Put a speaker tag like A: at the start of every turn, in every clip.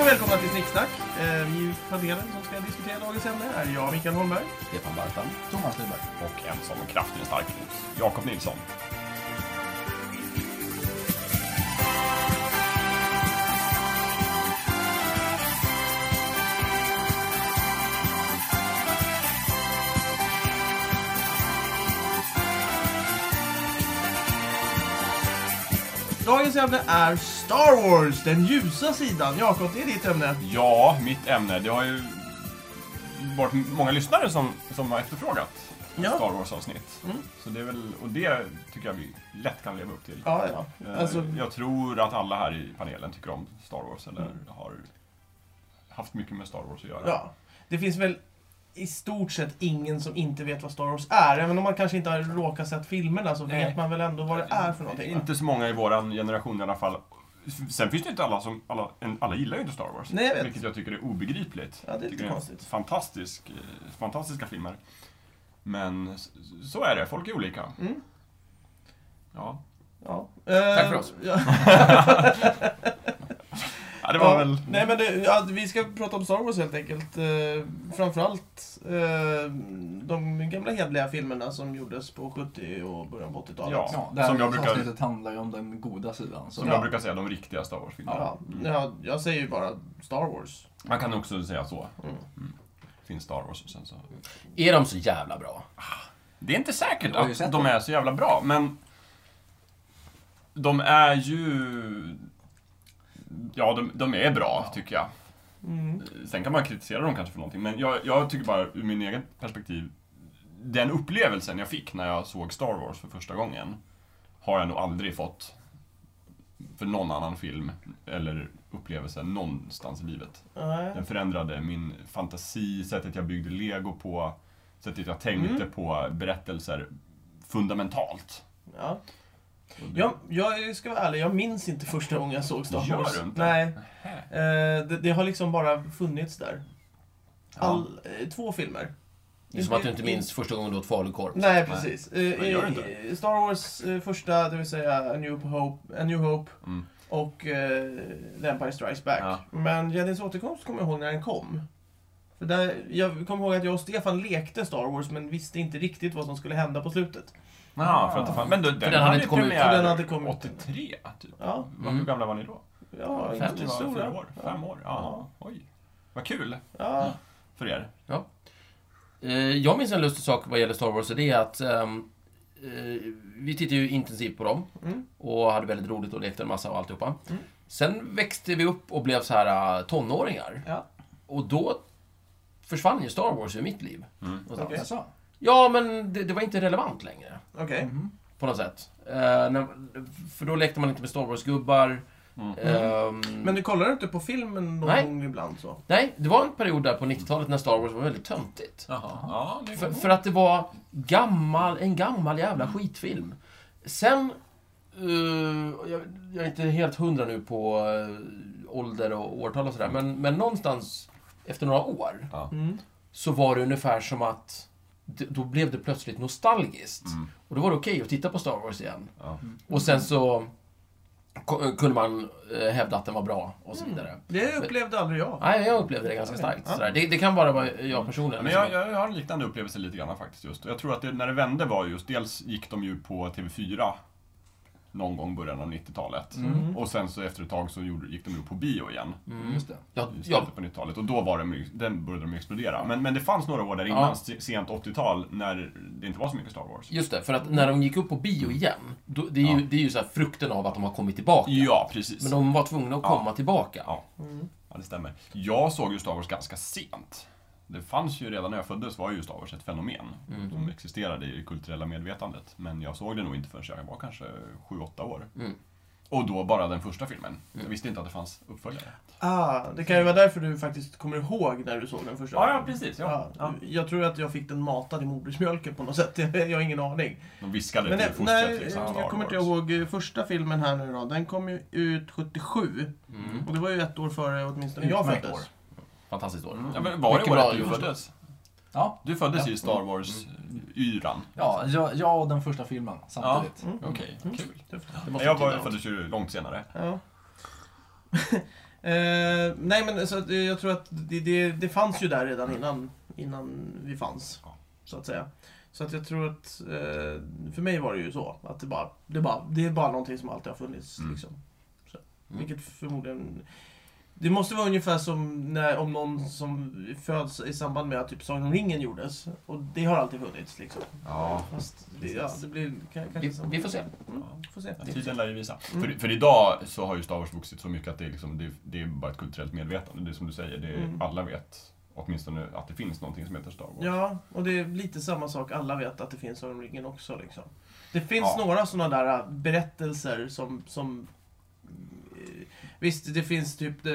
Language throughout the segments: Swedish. A: och välkomna till Snicksnack. Eh, Vi i panelen som ska diskutera dagens ämne är jag, Mikael Holmberg.
B: Stefan Bartan.
C: Thomas Nyberg.
D: och en som kraftigt stark mot Jakob Nilsson.
A: Dagens ämne är Star Wars, den ljusa sidan. Jakob, det är ditt ämne.
D: Ja, mitt ämne. Det har ju varit många lyssnare som, som har efterfrågat
A: Ja.
D: Star Wars-avsnitt.
A: Mm.
D: Så det är väl, och det tycker jag vi lätt kan leva upp till.
A: Ja, ja.
D: Eh,
A: Alltså,
D: Jag tror att alla här i panelen tycker om Star Wars eller
A: Mm.
D: har haft mycket med Star Wars att göra.
A: ja. Det finns väl i stort sett ingen som inte vet vad Star Wars är. Även om man kanske inte har råkat sett filmerna så
D: Nej.
A: vet man väl ändå vad det är för någonting. va?
D: Inte så många i vår generation i alla fall. Sen finns det inte alla som, alla, en- alla gillar ju inte Star Wars.
A: Nej, jag vet.
D: Vilket jag tycker är obegripligt.
A: Ja, det är lite
D: Tycker en
A: konstigt.
D: Fantastisk, eh, fantastiska filmer. Men s- så är det, folk är olika.
A: Mm.
D: Ja.
A: Ja. Eh,
B: Tack för oss.
A: Ja.
D: ja, det var
A: Ja,
D: väl...
A: Nej men det, ja, vi ska prata om Star Wars helt enkelt. Eh, framförallt eh, de gamla hedliga filmerna som gjordes på 70 och början på 80-talet.
D: Ja.
C: Ja, det här
D: Som jag brukar-
C: avsnittet handlar ju om den goda sidan. Så
D: Som
A: Ja.
D: jag brukar säga, de riktiga Star Wars-filmerna.
A: Ja,
D: Mm.
A: ja, jag säger ju bara Star Wars.
D: Man kan också säga så.
A: Mm.
D: Mm. Finns Star Wars och sen så...
B: Är de så jävla bra?
D: Det är inte säkert
C: Jag har ju
D: att
C: sett
D: de
C: dem.
D: är så jävla bra, men... De är ju... Ja, de, de är bra, tycker jag.
A: Mm.
D: Sen kan man kritisera dem kanske för någonting, men jag, jag tycker bara ur min egen perspektiv, den upplevelsen jag fick när jag såg Star Wars för första gången har jag nog aldrig fått för någon annan film eller upplevelse någonstans i livet.
A: Nej.
D: Den förändrade min fantasi, sättet jag byggde lego på, sättet jag tänkte på berättelser fundamentalt.
A: Ja. Jag, jag ska vara ärlig, jag minns inte första gången jag såg Star
D: Gör
A: Wars.
D: du inte?
A: Nej.
D: Nähä.
A: Eh, det, det har liksom bara funnits där.
D: Ja.
A: All, eh, två filmer.
B: Det är som att du inte minns första gången du åt falukorv.
A: Nej, precis. Eh,
D: Men gör det inte.
A: eh, Star Wars eh, första, det vill säga A New Hope, A New Hope
D: Mm.
A: och eh, The Empire Strikes Back.
D: Ja.
A: Men Gäddens återkomst kommer jag ihåg när den kom. För där, jag kommer ihåg att jag och Stefan lekte Star Wars men visste inte riktigt vad som skulle hända på slutet.
D: Ja, för att, ta fram- men då- den,
B: den hade inte
D: ju
B: kommit ut.
D: premiär
A: För den hade kommit.
D: 83, typ.
A: Ja,
D: Vad- Hur
B: Mm.
D: gamla var ni då?
A: ja
B: Fem,
A: inte
D: Ni var
A: stora.
D: fyra år, fem år. Ja.
A: Ja.
D: Oj. Vad kul
A: Ja.
D: för er.
B: Eh, Jag minns en lustig sak vad gäller Star Wars och det är att ehm, eh, vi tittade ju intensivt på dem
A: Mm.
B: och hade väldigt roligt och lekte en massa och alltihopa.
A: Mm.
B: Sen växte vi upp och blev så här eh, tonåringar.
A: Ja.
B: Och då försvann ju Star Wars ur mitt liv.
D: Mm.
B: någonstans.
A: Okej.
C: Jaså?
B: Ja, men det, det var inte relevant längre.
A: Okej.
C: Mhm.
B: På något sätt. Eh, när, för då lekte man inte med Star Wars-gubbar.
D: Mm.
B: Ehm,
A: Men du kollar inte på filmen någon
B: Nej.
A: gång ibland så?
B: Nej, det var en period där på 90-talet när Star Wars var väldigt töntigt.
D: Jaha. Ja, det
B: För,
D: är
B: för att det var gammal, en gammal jävla skitfilm. Sen... eh, jag, jag är inte helt hundra nu på eh, ålder och årtal och sådär, men, men någonstans efter några år
D: ja.
A: Mm.
B: så var det ungefär som att d- då blev det plötsligt nostalgiskt.
D: Mm.
B: Och då var det okej att titta på Star Wars igen.
D: Ja.
B: Och sen så ko- kunde man eh, hävda att den var bra och så vidare.
A: Det upplevde aldrig jag.
B: Nej, jag upplevde det ganska starkt.
A: Ja.
B: Sådär. Det, det kan bara vara jag personligen.
D: Men jag, jag har en liknande upplevelse lite grann faktiskt just. Och Jag tror att det, när det vände var just, dels gick de ju på TV4 någon gång i början av 90-talet.
A: Mm.
D: Och sen så efter ett tag så gjorde, gick de ju på bio igen.
B: Mm.
C: Just det.
B: Jag,
D: I
B: jag,
D: slutet på 90-talet. Och då var de, den började de explodera. Men, men det fanns några år där innan,
B: Ja.
D: se- sent 80-tal, när det inte var så mycket Star Wars.
B: just det, för att när de gick upp på bio igen, då, det är ju,
D: Mm. Ja.
B: det är ju så här frukten av att de har kommit tillbaka.
D: Ja, precis.
B: Men de var tvungna att
D: Ja.
B: komma tillbaka.
D: Ja.
A: Mm.
D: Ja, det stämmer. Jag såg ju Star Wars ganska sent. Det fanns ju redan när jag föddes var ju Star Wars ett fenomen
B: Mm.
D: som existerade i det kulturella medvetandet. Men jag såg det nog inte förrän jag var kanske 7-8 år.
B: Mm.
D: Och då bara den första filmen. Jag visste inte att det fanns uppföljare.
A: Ah, det kan ju vara därför du faktiskt kommer ihåg när du såg den första gången.
D: precis.
A: Ja, Jag tror att jag fick den matad i modersmjölken på något sätt. Jag har ingen aning.
D: De viskade
A: Men
D: till
A: nej,
D: fostret
A: nej,
D: liksom. Star
A: jag kommer inte
D: Wars.
A: ihåg eh, första filmen här nu då. Den kom ju ut 77.
B: Mm.
A: Och det var ju ett år före åtminstone jag
C: Utmärkt
A: föddes.
C: år.
B: Fantastiskt år.
D: Mm. Ja, men var det
B: Mycket
D: året
B: bra
D: du
B: gjort.
D: föddes?
C: Ja,
D: Du föddes
C: Ja.
D: i Star Wars-yran.
C: ja jag, jag och den första filmen samtidigt.
A: Mm.
D: Okej,
A: Mm.
D: kul.
A: Tufft.
B: Det måste
D: Jag
B: betyda
D: var,
B: något.
D: föddes ju långt senare.
A: Ja. Eh, nej men så att, eh, jag tror att det, det, det fanns ju där redan innan, innan vi fanns.
D: Ja.
A: Så att säga. Så att jag tror att, eh, för mig var det ju så. Att det bara, det bara, det är bara någonting som alltid har funnits.
D: Mm.
A: Liksom. Så,
B: Mm.
A: vilket förmodligen... Det måste vara ungefär som när, om någon som föds i samband med att typ Sagan om ringen gjordes. Och det har alltid funnits liksom.
D: Ja.
A: Fast det, ja, det blir kan- kanske
B: Vi,
A: som-
B: vi får se.
A: Mm, får se.
D: Tiden lär ju visa.
A: Mm.
D: För, för idag så har ju Star Wars vuxit så mycket att det är, liksom, det, är- det är bara ett kulturellt medvetande. Det är som du säger, det är,
A: Mm.
D: alla vet åtminstone att det finns någonting som heter Star Wars.
A: Ja, och det är lite samma sak. Alla vet att det finns Sagan om ringen också. Liksom. Det finns
D: Ja.
A: några sådana där äh, berättelser som... som eh, Visst, det finns typ eh,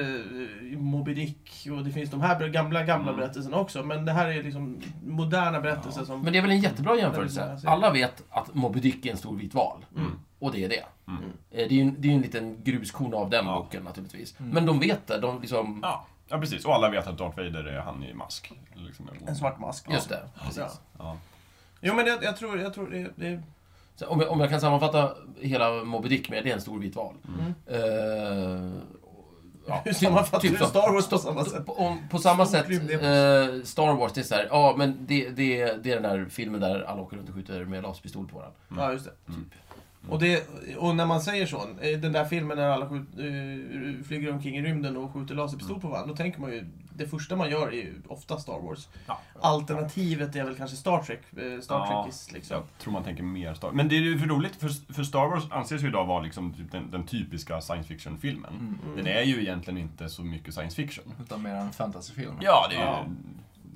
A: Moby Dick och det finns de här gamla, gamla
D: Mm.
A: berättelserna också. Men det här är liksom moderna berättelser som...
B: Men det är väl en jättebra
D: Mm.
B: jämförelse. Alla vet att Moby Dick är en stor vit val.
A: Mm.
B: Och det är det.
D: Mm.
A: Mm.
B: Eh, Det är ju en, det är ju en liten gruskorn av den
D: Ja.
B: boken naturligtvis.
C: Mm.
B: Men de vet det. De liksom...
D: Ja. ja, precis. Och alla vet att Darth Vader är han i mask. Liksom.
A: En svart mask.
B: Just det.
A: Ja.
D: Ja.
A: Jo, men jag, jag tror, jag tror det, det...
B: Så om, jag, om jag kan sammanfatta hela Moby Dick med, det är en stor vit val.
A: Mm.
B: Eh, ja,
A: Hur
B: typ-
A: sammanfattar
B: typ
A: du
B: så.
A: Star Wars på samma sätt?
B: På, om, på samma
A: Stor
B: sätt,
A: rymdepos.
B: eh, Star Wars, det är så här, ja men det, det, det är den där filmen där alla åker runt och skjuter med laserpistol på varandra.
A: Ja, just det. Typ.
D: Mm.
A: Och, det, och när man säger så, eh, den där filmen när alla skjut, eh, flyger omkring i rymden och skjuter
D: Mm.
A: laserpistol på varandra, då tänker man ju, det första man gör är ju ofta Star Wars.
D: Ja.
A: Alternativet är väl kanske Star Trek, eh, Star
D: Ja.
A: Trekis liksom.
D: Jag tror man tänker mer Star Men det är ju för roligt, för, för Star Wars anses ju idag vara liksom typ den, den typiska science fiction-filmen.
C: Mm.
D: Den är ju egentligen inte så mycket science fiction.
C: Utan mer en fantasyfilm.
D: Ja, Mm. det är ju
A: Ja.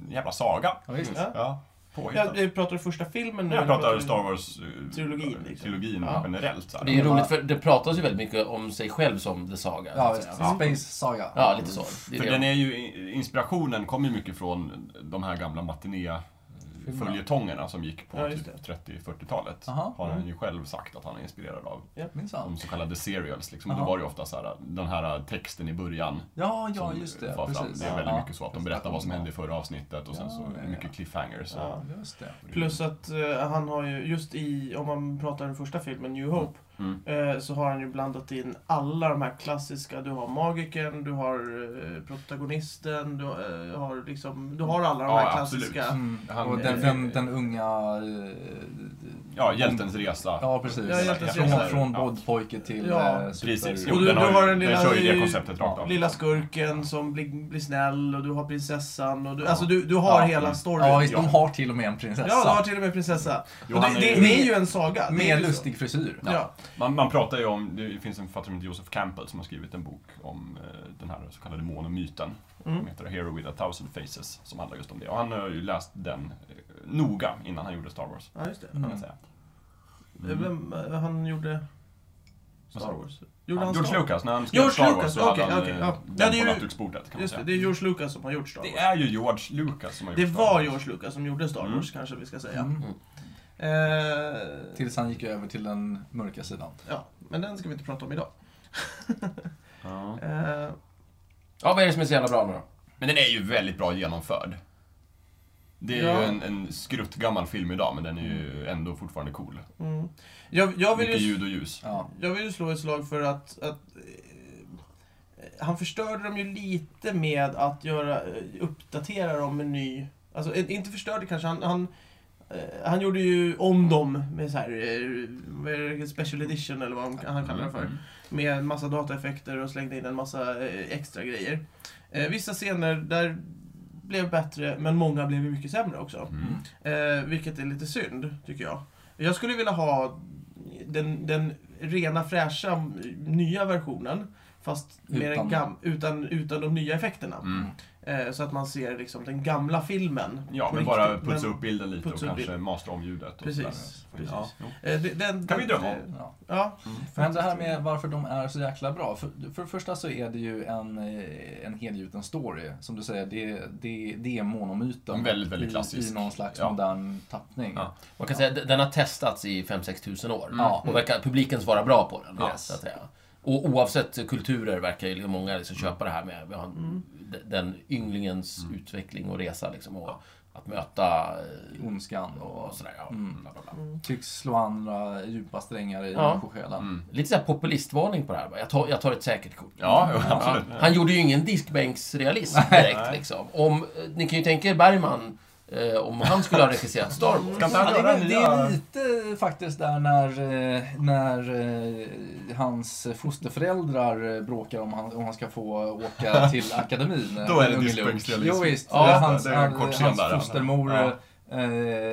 D: en jävla saga.
C: Ja, visst.
A: Ja.
D: Ja, påhittat.
A: Jag, jag pratar första filmen nu.
D: Jag
A: eller
D: pratar Star Wars... eh,
A: Trilogin, liksom.
D: Trilogin
A: Ja.
D: generellt. Så här.
B: Det är ju roligt för det pratas ju väldigt mycket om sig själv som The Saga. så
C: Ja,
B: att
C: visst.
B: säga.
A: Ja.
C: Space Saga.
B: ja lite så. Det är
D: För
B: det.
D: den är ju, i- inspirationen kommer ju mycket från de här gamla matiné-följetongerna som gick på
A: Ja, just
D: typ 30-40-talet.
C: Aha.
D: Har han ju själv sagt att han är inspirerad av.
C: Minsann.
D: De så kallade serials. Liksom. Och
C: Aha.
D: Då var det ju ofta så här, den här texten i början.
C: Ja, ja,
D: som
C: just
D: far
C: det.
D: fram.
C: Precis.
D: Det är väldigt mycket så att de
C: Just
D: berättar
C: det.
D: vad som hände i förra avsnittet och sen
C: Ja,
D: så
C: ja, ja.
D: mycket cliffhangers. och-
A: Ja.
C: Just det.
A: Plus att eh, han har ju, just i, om man pratar den första filmen, New Hope,
D: Mm.
A: eh, så har han ju blandat in alla de här klassiska, du har magikern, du har eh, protagonisten, du eh, har liksom, du har alla de
D: Ja,
A: här
D: absolut.
A: klassiska.
C: Mm.
D: Han-
C: och den,
D: eh,
C: den, den unga... eh,
D: Ja, Hjältens resa.
C: Ja, precis.
A: Ja, hjältens
C: från
A: resa.
C: från
D: Ja.
C: boddpojke till
A: Ja.
C: eh, super...
D: Precis,
A: Och
D: jo,
A: du-
D: den,
A: du
D: har,
A: har
D: ju-
A: en
D: den
A: lilla-
D: kör ju det konceptet rakt
C: Ja,
D: av.
A: Lilla skurken som blir, blir snäll och du har prinsessan och du, alltså du, du har
C: Ja.
A: hela
D: Mm.
A: storyn.
C: Ja,
A: Ja,
C: visst, de har till och med en prinsessa.
A: du har till och med prinsessa. Och det,
D: Johan är
A: det,
D: ju-
A: det är ju en saga. det är
C: Med
A: ju så.
C: lustig frisyr.
A: Ja.
D: Man, man pratar ju om, det finns en författare som heter Joseph Campbell som har skrivit en bok om eh, den här så kallade monomyten.
A: Mm.
D: Som heter A Hero with a thousand faces, som handlar just om det. Och han har ju läst den eh, noga innan han gjorde Star Wars,
A: ja, just det.
D: kan
C: Mm.
D: man säga.
A: Vem, eh, han gjorde
D: Mm. Vad
A: Star
D: sa du?
A: Wars? Gjorde
D: Ja,
A: han
D: George
A: Star Wars?
D: Lucas, när han skrev
A: George
D: Star Wars
A: Lucas,
D: så hade
A: okej,
D: han
A: okej,
D: eh,
A: ja.
D: den
A: Ja, det är ju-
D: på nattduksbordet, kan man
A: Just det,
D: säga.
A: det är George Lucas som har gjort Star Wars.
D: Det är ju George Lucas som har gjort
A: Det
D: Star
A: var
D: Wars.
A: George Lucas som gjorde Star
D: Mm.
A: Wars, kanske vi ska säga.
C: Mm.
A: Eh,
C: Tills han gick över till den mörka sidan.
A: ja, men den ska vi inte prata om idag.
D: Ja.
A: Eh,
B: Ja, vad är det som är så jävla bra nu då?
D: Men den är ju väldigt bra genomförd. Det är
A: Ja.
D: ju en, en skruttgammal film idag, men den är ju ändå fortfarande cool.
A: mm. jag, jag vill
D: Mycket
A: ju...
D: ljud och ljus.
C: Ja.
A: Jag vill ju slå ett slag för att, att eh, han förstörde dem ju lite med att göra, eh, uppdatera dem med ny... Alltså eh, inte förstörde kanske, han, han, eh, han gjorde ju om dem med så här, eh, vad är det, special edition eller vad han, han kallar det för.
D: Mm.
A: Med en massa dataeffekter och slängde in en massa eh, extra grejer. Eh, vissa scener där blev bättre, men många blev ju mycket sämre också.
D: Mm.
A: Eh, vilket är lite synd, tycker jag. Jag skulle vilja ha den, den rena fräscha m- nya versionen. Fast med den
C: Utan-
A: gam- utan, utan de nya effekterna.
D: Mm.
A: Eh, så att man ser liksom den gamla filmen.
D: Ja,
A: på
D: men bara
A: riktigt.
D: putsa
A: Men-
D: upp bilden lite och
A: putsa upp
D: kanske
A: bilden.
D: mastra om ljudet. Och
A: Precis,
D: sådär.
A: precis.
D: Ja, jo.
A: Eh, det- den,
D: Kan vi drömma om.
A: eh,
C: Ja.
A: Ja.
C: Men det här med varför de är så jäkla bra. För, för det första så är det ju en, eh, en helgjuten story. Som du säger, det, det, det är monomyten.
D: En väldigt, väldigt
C: i-
D: klassisk.
C: I någon slags
D: Ja.
C: modern tappning.
D: Ja.
B: Man kan säga att den har testats i 5-6 tusen år.
C: Ja.
B: Och verkar, publiken svarar bra på den.
C: Yes.
B: Så att säga. Och oavsett kulturer verkar ju liksom många liksom köpa det här med vi har en-
A: Mm.
B: d- den ynglingens
D: Mm.
B: utveckling och resa. Liksom, och att möta eh,
C: Ondskan och
B: och sådär. Ja,
C: Mm.
B: bla, bla, bla.
A: Mm.
C: tycks slå andra djupa strängar i
B: Ja.
C: människosjälen.
D: Mm.
B: Lite såhär populistvarning på det här. bara, Jag tar, jag tar ett säkert kort.
D: Ja, jo,
B: Ja,
D: absolut.
B: han gjorde ju ingen diskbänksrealism direkt.
D: Nej.
B: Liksom. Om, eh, ni kan ju tänka er Bergman, eh, om han skulle ha regisserat Star Wars.
D: Ska inte
C: Ja,
D: han
C: det, är
D: göra
C: väl- det är
D: nya...
C: lite faktiskt där när, eh, när eh, hans fosterföräldrar eh, bråkar om han, om han ska få åka till akademin. eh,
D: Då är det
C: Unge Lund.
D: diskbänksrealism.
C: Jo, visst.
D: Ja,
C: Eh, hans
D: det är en kort scen
C: hans
D: där, ja.
C: fostermor
D: Ja.
C: eh,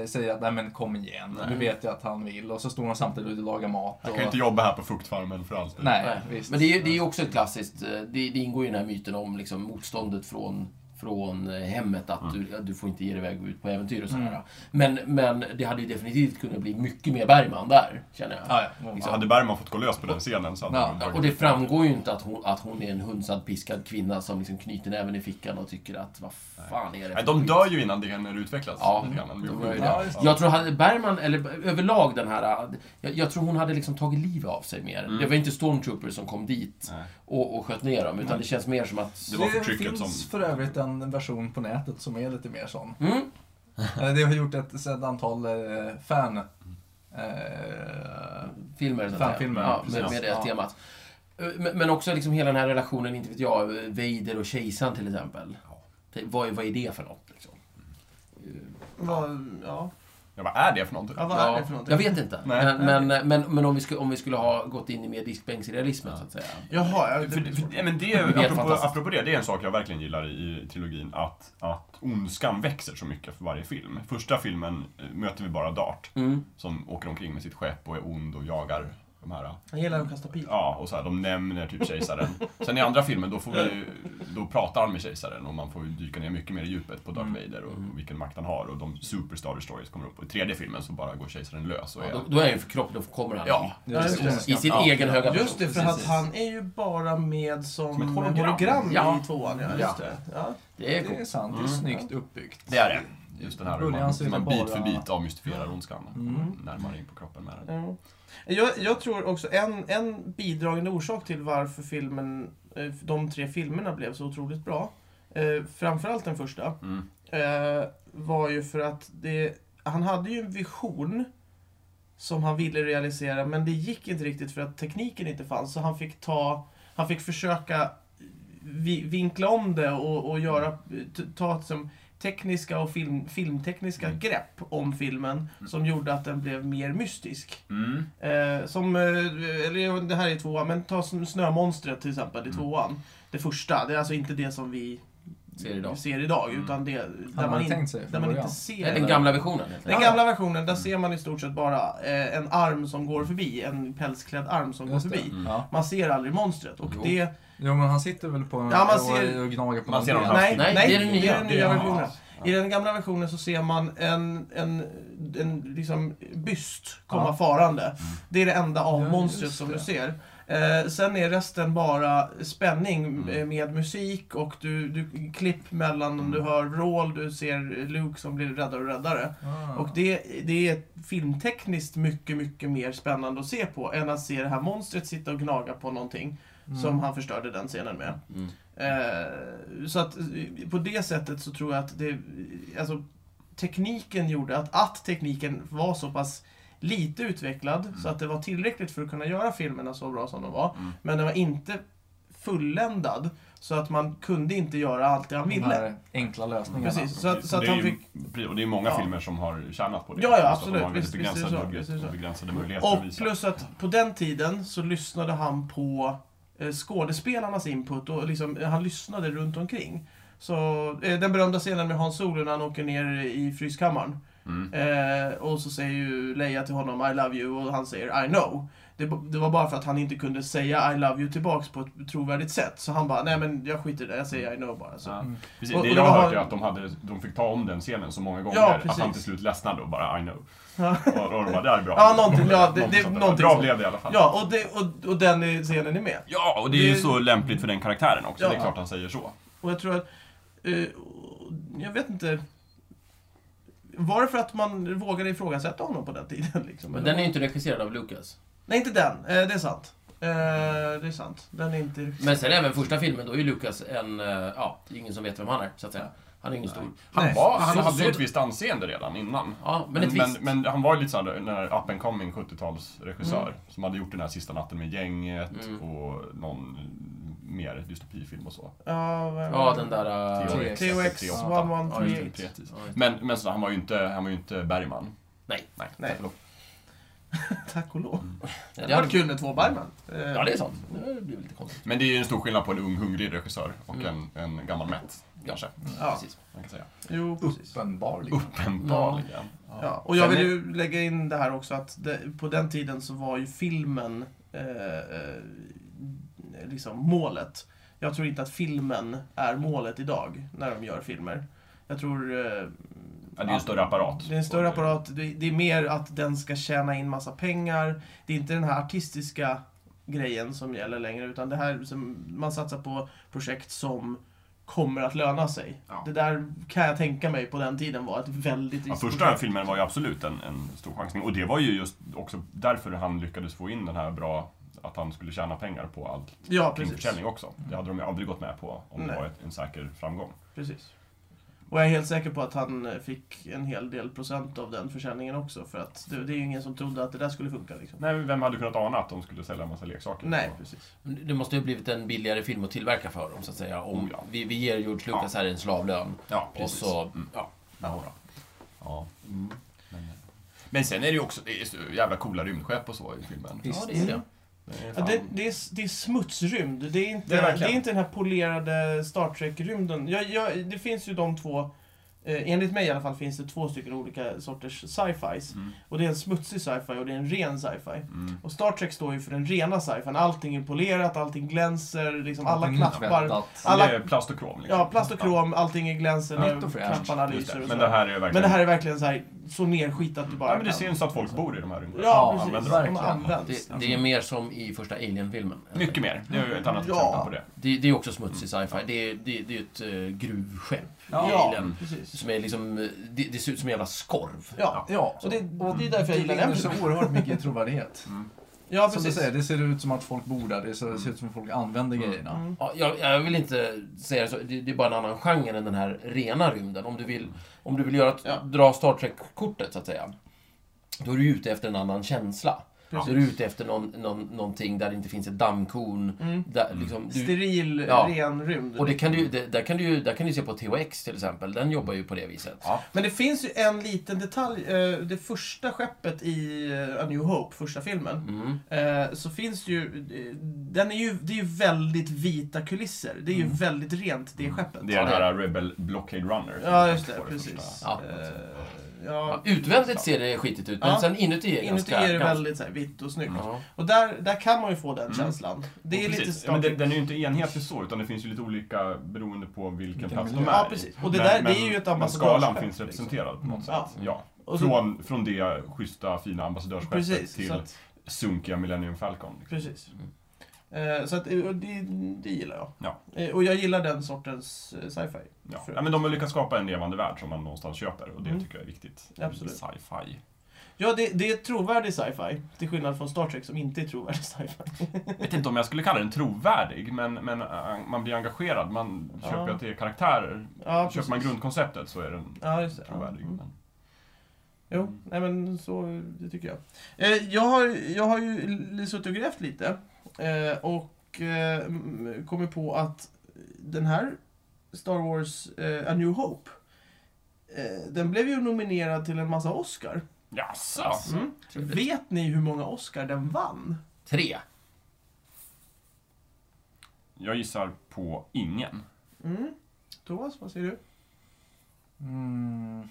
C: säger att nej men kom igen,
D: Nej.
C: du vet ju att han vill. Och så står hon samtidigt och lagar mat.
D: Jag
C: Och,
D: kan ju inte jobba här på Fruktfarmen för alltid.
C: nej,
B: Nej,
C: visst.
B: Men det är ju det är ju också ett klassiskt, eh, det, det ingår ju i den här myten om liksom motståndet från, från eh, hemmet, att
D: Mm.
B: du, du får inte ge dig iväg och ut på äventyr och sådär.
C: Mm.
B: Men, men det hade ju definitivt kunnat bli mycket mer Bergman där, känner jag.
C: Ja, ja.
D: Så Alltså, hade Bergman fått gå lös på den scenen så hade
C: Ja,
D: han
B: Ja,
D: tagit
B: Och det
D: ut
B: framgår ju inte att hon, att hon är en hunsad, piskad kvinna som liksom knyter näven i fickan och tycker att vad fan är det för
D: Nej, de
B: skit?"
D: dör ju innan DNR utvecklas.
B: Ja,
D: lite grann.
B: de gör ju
C: Ja,
B: det.
C: just
B: Jag tror hade Bergman, eller överlag den här, jag, jag tror hon hade liksom tagit livet av sig mer.
D: Mm.
B: Det var inte Stormtroopers som kom dit
D: Nej.
B: och, och sköt ner dem, utan
D: Nej.
B: det känns mer som att...
D: Det var
C: Mm. det
D: förtrycket
C: finns
D: som-
C: för övrigt en version på nätet som är lite mer sån.
B: Mm.
C: Eh, Det har gjort ett, ett antal eh, fan... Eh,
B: Filmer, så att
C: Fanfilmer,
B: säga. ja, med,
D: precis.
B: med det
C: Ja.
B: temat. Men, men också liksom hela den här relationen, inte vet jag, Vader och kejsaren till exempel. Det- Vad, är- vad är det för något? Liksom?
D: Mm.
A: Vad, ja.
D: Jag bara, är det för någonting?
A: ja, vad är det för någonting?
B: jag vet inte.
D: Nej.
B: Men, men, men, men om, vi skulle, om vi skulle ha gått in i mer diskbänksrealismen, så att säga.
A: Jaha, jag,
D: För,
A: det,
D: för, ja, men det,
B: Det är
D: är apropå,
B: fantastiskt.
D: apropå det, det är en sak jag verkligen gillar i, i trilogin. Att, att ondskan växer så mycket för varje film. Första filmen eh, möter vi bara Dart.
B: Mm.
D: Som åker omkring med sitt skepp och är ond och jagar de här.
A: han gillar att kasta pil.
D: Ja, och så här, de nämner typ kejsaren. Sen i andra filmen, då, får vi, ju- då pratar han med kejsaren och man får ju dyka ner mycket mer i djupet på Darth
C: Mm.
D: Vader och, och vilken makt han har. Och de superstar stories kommer upp. Och i tredje filmen så bara går kejsaren lös och
B: Ja,
D: är...
B: då, då är han ju förkroppad, då kommer han
D: Ja,
C: det är
A: just
C: det.
B: i sin
D: Ja.
B: egen höga
A: Just det, för att
C: Precis.
A: han är ju bara med som,
D: Som ett hologram.
A: hologram,
B: Ja.
A: i tvåan. Ja,
D: Ja.
A: just det. Ja.
B: Det är
C: Det
B: coolt.
C: är sant, det är
D: Mm.
C: snyggt uppbyggt.
D: Det är det. Just den här hur
C: Början
D: man,
C: så är
D: hur
C: det
D: man bit
C: bara-
D: för bit avmystifierar ondskan.
C: Mm.
D: Närmare in på kroppen med den.
A: Ja. Jag, jag tror också en, en bidragande orsak till varför filmen, eh, de tre filmerna blev så otroligt bra, eh, framförallt den första,
D: Mm.
A: eh, var ju för att det, han hade ju en vision som han ville realisera, men det gick inte riktigt för att tekniken inte fanns. Så han fick ta, han fick försöka vi, vinkla om det och, och göra, t- ta som tekniska och film, filmtekniska
D: Mm.
A: grepp om filmen som gjorde att den blev mer mystisk.
D: Mm.
A: Eh, som, eh, eller jag vet inte, det här är tvåan, men ta sn- Snömonstret till exempel, i
D: Mm.
A: tvåan. Det första, det är alltså inte det som vi
B: Ser idag.
A: ser idag,
D: Mm.
A: utan det
C: hade
A: där man, in,
C: tänkt sig från
A: där man
C: början.
A: inte ser.
B: Det är den gamla Mm. versionen. helt
A: Den
B: enkelt.
A: gamla versionen, där ser man i stort sett bara eh, en arm som går förbi, en pälsklädd arm som
C: Just
A: går
C: det.
A: förbi.
D: Mm.
C: Ja.
A: Man ser aldrig monstret. Och
B: Jo.
A: det,
C: Jo, men han sitter väl på en
A: Ja, man
C: och-
A: ser-
C: och gnager på
D: Man
C: någon
D: ser
C: del.
D: honom
A: nej,
B: Nej,
A: nej,
B: det är den nya.
A: den nya
C: Ja.
A: versionen. I den gamla versionen så ser man en, en, en liksom byst komma
C: Ja.
A: farande. Det är det enda av
C: Ja,
A: monstret
C: just
A: som
C: det.
A: du ser. Eh, sen är resten bara spänning eh, med musik och du, du klipp mellan om du hör vrål, du ser Luke som blir räddare och räddare.
C: Ah.
A: Och det, det är filmtekniskt mycket, mycket mer spännande att se på än att se det här monstret sitta och gnaga på någonting
C: Mm.
A: som han förstörde den scenen med.
B: Mm.
A: Eh, så att eh, på det sättet så tror jag att det, alltså, tekniken gjorde att, att tekniken var så pass lite utvecklad
C: Mm.
A: så att det var tillräckligt för att kunna göra filmerna så bra som de var.
D: Mm.
A: Men den var inte fulländad så att man kunde inte göra allt det han
C: De
A: ville.
C: här enkla lösningarna.
A: Precis, så att, så att
D: det är
A: han
D: ju,
A: fick...
D: pre- Och det är många
A: Ja.
D: filmer som har tjänat på det.
A: Ja, ja,
D: Så att
A: absolut.
D: De har väldigt
A: Visst, visst är det
D: begränsad
A: så.
D: budget
A: Visst är det
D: och
A: så.
D: begränsade möjligheter
A: Och
D: att visa.
A: plus att på den tiden så lyssnade han på eh, skådespelarnas input och liksom, eh, han lyssnade runt omkring. Så eh, den berömda scenen med Hans Solo när han åker ner i fryskammaren.
D: Mm.
A: Eh, och så säger ju Leia till honom I love you och han säger I know. Det, b- det var bara för att han inte kunde säga I love you tillbaks på ett trovärdigt sätt. Så han bara, nej men jag skiter i det, jag säger I know bara. Så.
D: Ja.
C: Mm.
D: Precis,
A: Och-
D: det
A: och
D: jag
A: det
D: har
A: var-
D: hört är att de, hade, de fick ta om den scenen så många gånger
A: Ja,
D: att
A: precis.
D: han till slut ledsnade och bara I know.
A: Ja.
D: Och, och de bara, det här är bra.
A: Ja, någonting, ja, det- det-
D: sånt där.
A: någonting
D: Bra
A: sånt.
D: blev det i alla fall.
A: Ja, och, det, och, och den är- scenen är med.
D: Ja, och det är ju
A: Det-
D: så lämpligt för den karaktären också.
A: Ja.
D: Det är klart han säger så.
A: Och jag tror att... eh, jag vet inte... Var det för att man vågade ifrågasätta honom på den tiden? Liksom,
B: Men
A: eller?
B: den är ju inte regisserad av Lucas.
A: Nej, inte den. Eh, det är sant. Eh, Eh, det är sant. Den är inte riktigt...
B: Men sen även första filmen, då är ju Lucas en... eh, Ja, det är ingen som vet vem han är, så att säga. Han är ingen stor.
D: Han,
A: Nej.
D: var, han
B: Så-
D: hade
B: så-
D: ju ett visst anseende redan innan.
B: Ja, men
D: Men,
B: ett
D: men,
B: visst...
D: men han var ju lite såhär, den här up and coming 70-talsregissör som hade gjort den här Sista natten med gänget
B: Mm.
D: och någon mer dystopifilm och så.
A: Ja, vad-
B: Ja, den där... eh,
C: T-Rex.
D: alltså
A: TOX
D: T-Rex.
A: 113.
D: Tre, precis.
B: Ja, just det.
D: Men, men så, han var ju inte, han var ju inte Bergman.
B: Nej.
D: Nej.
A: Nej.
D: Tack och lov.
A: Tack och lov.
B: Ja,
A: Det hade varit kul med två Bergman. Eh,
B: Ja, det är sant. Det blir lite konstigt.
D: Men det är ju en stor skillnad på en ung hungrig regissör och
B: Mm.
D: en, en gammal mätt. Kanske,
A: Ja,
B: Precis.
D: man kan säga.
A: jo, precis.
C: Uppenbarligen.
D: Uppenbarligen.
A: Ja, och jag
D: Sen
A: vill ju lägga in det här också att det, på den tiden så var ju filmen eh, eh, liksom målet. Jag tror inte att filmen är målet idag när de gör filmer. Jag tror... Eh,
D: Ja, det är ju en större apparat.
A: Det är en större apparat. Det, det är mer att den ska tjäna in massa pengar. Det är inte den här artistiska grejen som gäller längre utan det här som man satsar på projekt som kommer att löna sig.
D: Ja.
A: Det där kan jag tänka mig på den tiden var ett väldigt
D: Ja,
A: riskprojekt.
D: första filmen var ju absolut en, en stor chansning och det var ju just också därför han lyckades få in den här bra, att han skulle tjäna pengar på all
A: Ja, precis.
D: kringförsäljning också. Det hade de ju aldrig gått med på om
A: Nej.
D: det var ett, en säker framgång.
A: precis. Och jag är helt säker på att han eh, fick en hel del procent av den försäljningen också för att det, det är ju ingen som trodde att det där skulle funka liksom.
D: Nej, men vem hade kunnat ana att de skulle sälja en massa leksaker?
A: Nej,
D: Och-
A: precis.
B: Det måste ju ha blivit en billigare film att tillverka för dem, så att säga. Om
D: Oh, ja.
B: vi, vi ger George Lucas här en slavlön.
D: Ja,
B: Och
D: precis.
B: så...
D: Mm.
B: Ja.
D: Ja, då. ja.
A: Mm.
D: Men, eh. men sen är det ju också det är så jävla coola rymdskepp och så i filmen.
B: ja, det är det.
D: Det är
A: Ja,
D: fan-
A: det, det, är, det är smutsrymd. Det är, inte, det,
D: Det
A: är
D: är verkligen.
A: inte den här polerade Star Trek-rymden. Jag, jag, det finns ju de två, eh, enligt mig i alla fall, finns det två stycken olika sorters sci-fis.
D: Mm.
A: Och det är en smutsig sci-fi och det är en ren sci-fi.
D: Mm.
A: Och Star Trek står ju för den rena sci-fin. Allting är polerat, allting glänser, liksom alla
C: Allting
A: knappar.
C: tvättat.
A: Alla-
D: Det är plast och krom. Liksom.
A: Ja, plast och krom, allting är glänser,
C: Ja.
A: det är
C: Nytt och fräscht.
A: knapparna
D: Just
A: lyser
D: det.
A: och
D: Men det
A: sådär.
D: här är ju verkligen...
A: Men det här är verkligen så här, så nerskitat du bara
D: ja, men det
A: kan.
D: syns att folk bor i de här rymdskeppen.
A: Ja,
C: Ja,
A: precis.
D: använder
A: De
C: verkligen.
A: används.
B: Det, det är mer som i första Alien-filmen.
D: dem. Mycket mer. Det är ju ett annat
A: Ja.
D: exempel på det.
B: Det, det är också smutsig
D: Mm.
B: sci-fi. Det, är- det, det är ju ett eh, gruvskepp
C: Ja.
B: i
A: Ja,
B: Alien.
A: precis.
B: Som är liksom... eh, Det, det ser ut som en jävla skorv.
A: Ja,
C: Ja,
A: och det, det är därför jag gillar
C: vinner
A: den
C: så
A: filmen.
C: oerhört mycket i trovärdighet.
D: Mm.
A: Ja,
C: Som du
A: precis.
C: säger, det ser ut som att folk bor där. Det ser ser ut som att folk använder grejerna.
A: Mm.
B: Ja, jag, jag vill inte säga det så. Det, det är bara en annan genre än den här rena rymden. Om du vill, om du vill göra, ett-
A: Ja.
B: dra Star Trek-kortet, så att säga. Då är du ute efter en annan känsla.
A: Precis.
B: Då är du ute efter någon, någon, någonting där det inte finns ett dammkorn.
A: Mm.
B: Där, liksom, du,
A: Steril,
B: Ja.
A: ren rymd.
B: och det kan du, det, där, kan du, där kan du se på THX till exempel. Den jobbar ju på det viset.
D: Ja.
A: Men det finns ju en liten detalj. Eh, Det första skeppet i eh, A New Hope, första filmen,
B: Mm.
A: eh, så finns det ju... eh, Den är ju det är ju väldigt vita kulisser. Det är ju väldigt rent, det skeppet.
D: Mm. Det är den här Rebel Blockade Runner. som
A: Ja,
D: vi
A: just
D: fick
A: det.
D: på
A: Precis.
D: första.
B: Ja.
A: Eh,
B: Ja,
A: Ja,
B: utvändigt ser det skitigt ut, men
A: Ja.
B: sen inuti är det
A: inuti
B: ganska...
A: är det
B: ganska-
A: väldigt så här, vitt och snyggt.
B: Ja.
A: Och där, där kan man ju få den
D: Mm.
A: känslan. Det är
D: Och
A: lite
D: precis. ja, men den,
A: Star
D: den är ju inte enhetlig så, utan det finns ju lite olika beroende på vilken
C: Vilken
D: plats de är
C: miljö.
A: Ja,
D: i.
A: precis. Och det där- det är ju ett
D: men
A: ambassadörsskepp,
D: skalan finns
A: liksom.
D: representerad på något
A: Ja.
D: sätt. Ja.
A: Och så-
D: Från, från det schyssta, fina ambassadörsskeppet
A: Precis.
D: till
A: Så att,
D: sunkiga Millennium Falcon. liksom.
A: precis. Eh, Så att, eh, och det, det gillar jag.
D: Ja.
A: Eh, Och jag gillar den sortens eh, sci-fi.
D: Ja.
A: För-
D: ja, men de har lyckats skapa en levande värld som man någonstans köper och det
A: Mm.
D: tycker jag är viktigt.
A: Absolut.
D: I Sci-fi.
A: Ja, det, det är trovärdig sci-fi. Till skillnad från Star Trek som inte är trovärdig sci-fi.
D: Jag vet inte om jag skulle kalla den trovärdig, men, men eh, man blir engagerad. Man
A: Ja.
D: köper ju till karaktärer.
A: Ja,
D: köper man grundkonceptet så är den
A: Ja, just det. Ja.
D: trovärdig.
A: Mm.
D: Men...
A: Jo, nej men så, det tycker jag. Eh, jag, har, jag har ju l- suttit och grävt lite. Eh, och eh, m- kommit på att den här Star Wars eh, A New Hope. Eh, den blev ju nominerad till en massa Oscar.
D: Jaså?
A: Mm.
B: trevligt.
A: Vet ni hur många Oscar den vann?
B: Tre.
D: Jag gissar på ingen.
A: Mm. Thomas, vad säger du?
C: Mm.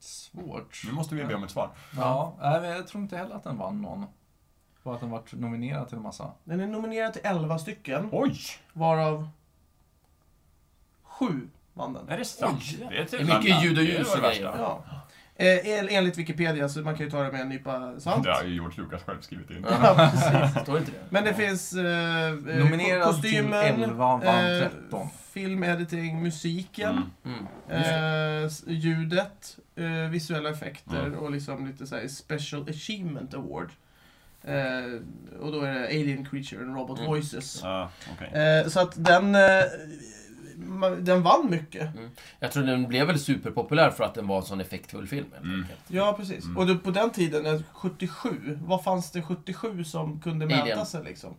C: Svårt.
D: Nu måste vi be om ett svar.
C: Ja, nej, men jag tror inte heller att den vann någon. Bara att den varit nominerad till en massa.
A: Den är nominerad till 11 stycken.
D: Oj!
A: Varav sju vann den.
D: Är det sant?
B: Oj.
D: Det är, typ
B: Det är mycket
D: bland-
B: ljud och
D: det är
B: ljus
D: det
B: och
D: värsta.
B: grejer.
A: Ja. Eh, en- enligt Wikipedia, så man kan ju ta det med en nypa salt.
D: Det har ju George Lucas själv skrivit in. Mm.
A: Ja, precis.
B: Står inte det?
A: Men det finns eh, eh,
C: Nominerad
A: ko- kostymen,
C: till 11, vann
A: eh,
C: 13.
A: film, editing, musiken,
D: Mm.
B: Mm.
A: eh, s- ljudet, eh, visuella effekter
D: Mm.
A: och liksom lite så här special achievement award. Eh, och då är det Alien Creature and Robot
B: Mm.
A: Voices.
D: Ah, okej.
A: Eh, så att den, eh, ma- den vann mycket.
B: Jag tror den blev väl superpopulär för att den var en sån effektfull film. helt
D: Mm.
B: enkelt.
A: Ja, precis.
D: Mm.
A: Och då, på den tiden, eh, 77, vad fanns det 77 som kunde
B: Alien.
A: mäta sig liksom?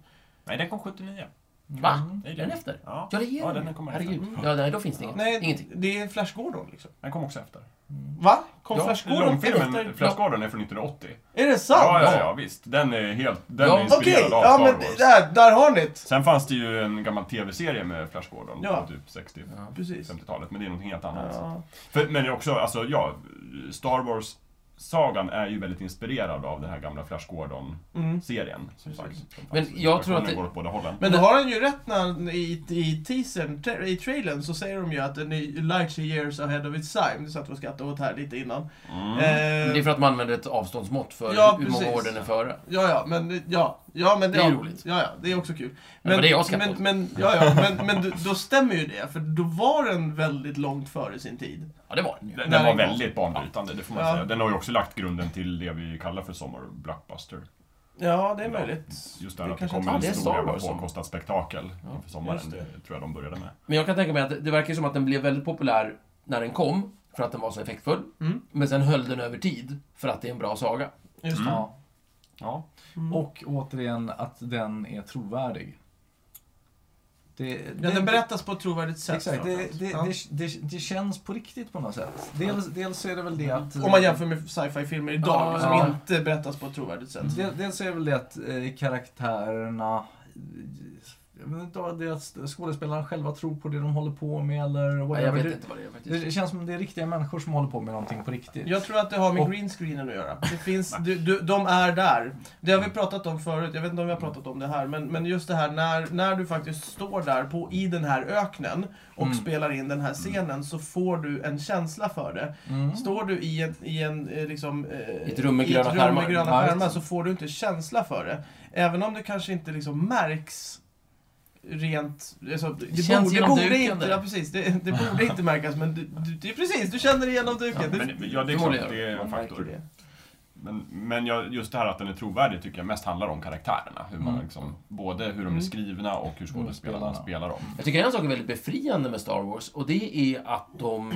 D: Nej, den kom 79.
B: Va?
D: Mm.
B: Är den efter?
D: Ja,
B: Ja, det är
D: Ja,
B: den.
D: den kommer
B: Herregud.
A: efter.
B: Ja, nej, då finns det inget.
A: Nej,
B: Ingenting.
A: det är Flash Gordon liksom.
D: den kom också efter.
A: Va? Kom
B: Ja,
A: Flash Gordon
D: Långfilmen
A: efter?
D: Flash Gordon är från 1980.
A: Är det sant?
D: Ja, ja, ja, visst. Den är helt... Den
B: Ja.
D: är
A: Okej,
D: inspirerad av
A: ja
D: Star
A: men
D: Wars.
A: där, där har ni det.
D: Sen fanns det ju en gammal tv-serie med Flash Gordon
A: Ja.
D: på typ 60
B: Ja.
A: Precis.
D: 50-talet, men det är något helt annat.
A: Ja.
D: För, men det är också, alltså ja, Star Wars-sagan är ju väldigt inspirerad av den här gamla Flash Gordon-serien.
A: Mm.
D: Som sagt. Som
B: Men
D: fanns-
B: jag tror att
D: versionen
B: det-
D: går åt båda hållen.
A: Men då har han ju rätt när i, i teasern, tra- i trailern, så säger de ju att den är light years ahead of its time. Det satt vi och skrattade åt här lite innan.
D: Mm.
B: Men det är
A: Eh,
B: för att man använder ett avståndsmått för
A: Ja,
B: hur många
A: precis.
B: år den är före.
A: ja, ja, men, ja, ja, men
B: Det är
A: ja,
B: ju roligt.
A: Ja, ja, det är också kul.
B: Men det var det jag skrattade
A: men,
B: åt.
A: men, ja, ja, men, men då- då stämmer ju det, för då var den väldigt långt före sin tid.
B: Ja, det var den ju.
D: Den,
A: när
D: den var
A: den kom.
D: väldigt banbrytande, det får man
A: Ja.
D: säga. Den har ju också lagt grunden till det vi kallar för sommar blockbuster.
A: Ja, det är
D: Ja,
A: möjligt.
D: Just det,
A: Det
D: här att det
A: kanske
D: kommer
B: inte-
D: en
B: Ja, det är
D: stor
B: Star
D: jävla
B: Wars som-
D: påkostat spektakel
B: Ja,
D: inför sommaren.
A: just
D: Det.
A: det.
D: tror jag de började med.
B: Men jag kan tänka mig att det- det verkar som att den blev väldigt populär när den kom, för att den var så effektfull.
A: Mm.
B: Men sen höll den över tid, för att det är en bra saga.
A: Just
D: Mm.
C: Ja.
D: Ja.
A: Mm.
C: Och återigen att den är trovärdig. Det,
A: Ja, den berättas på ett trovärdigt sätt.
C: Exakt, det, det,
A: Ja.
C: det, det, det känns på riktigt på något sätt. Dels, dels är det väl det att...
A: Mm. Om man jämför med sci-fi-filmer idag
B: Ja,
A: som
B: ja.
A: inte berättas på ett trovärdigt sätt.
C: Del- Mm. Dels är det väl det att eh, karaktärerna... Jag vet inte, om det är att skådespelarna själva tror på det de håller på med eller
B: Ja,
C: whatever.
B: jag vet
C: Det-
B: inte vad det är faktiskt.
C: Det känns som det är riktiga människor som håller på med någonting på riktigt.
A: Jag tror att det har med
C: Och-
A: greenscreenen att göra. Det finns, du, du, de är där. Det har vi
C: Mm.
A: pratat om förut, jag vet inte om vi har pratat om det här, men, men just det här när, när du faktiskt står där på, i den här öknen och
C: Mm.
A: spelar in den här scenen så får du en känsla för det.
C: Mm.
A: Står du i, en, i, en, eh, liksom, eh,
B: I ett rum med gröna
A: i ett rum
B: skärmar.
A: med gröna
C: Ja, just
A: skärmar
C: det.
A: så får du inte känsla för det. Även om det kanske inte liksom märks rent... Alltså, det,
B: känns
A: borde, det,
B: genom
A: borde
B: duken
A: inte,
B: där.
A: ja, precis, det, det borde inte märkas, men du, du, det är precis, du känner det genom duken.
D: Men,
A: det,
D: ja, det är klart,
B: Förmodligen.
D: det är en
A: man märker
D: faktor.
A: det.
D: Men, men jag, just det här att den är trovärdig tycker jag mest handlar om karaktärerna. Hur man
C: Mm.
D: liksom, både hur de är
A: Mm.
D: skrivna och hur skådespelarna
C: Mm,
D: spelar dem.
B: Jag tycker en sak är väldigt befriande med Star Wars, och det är att de,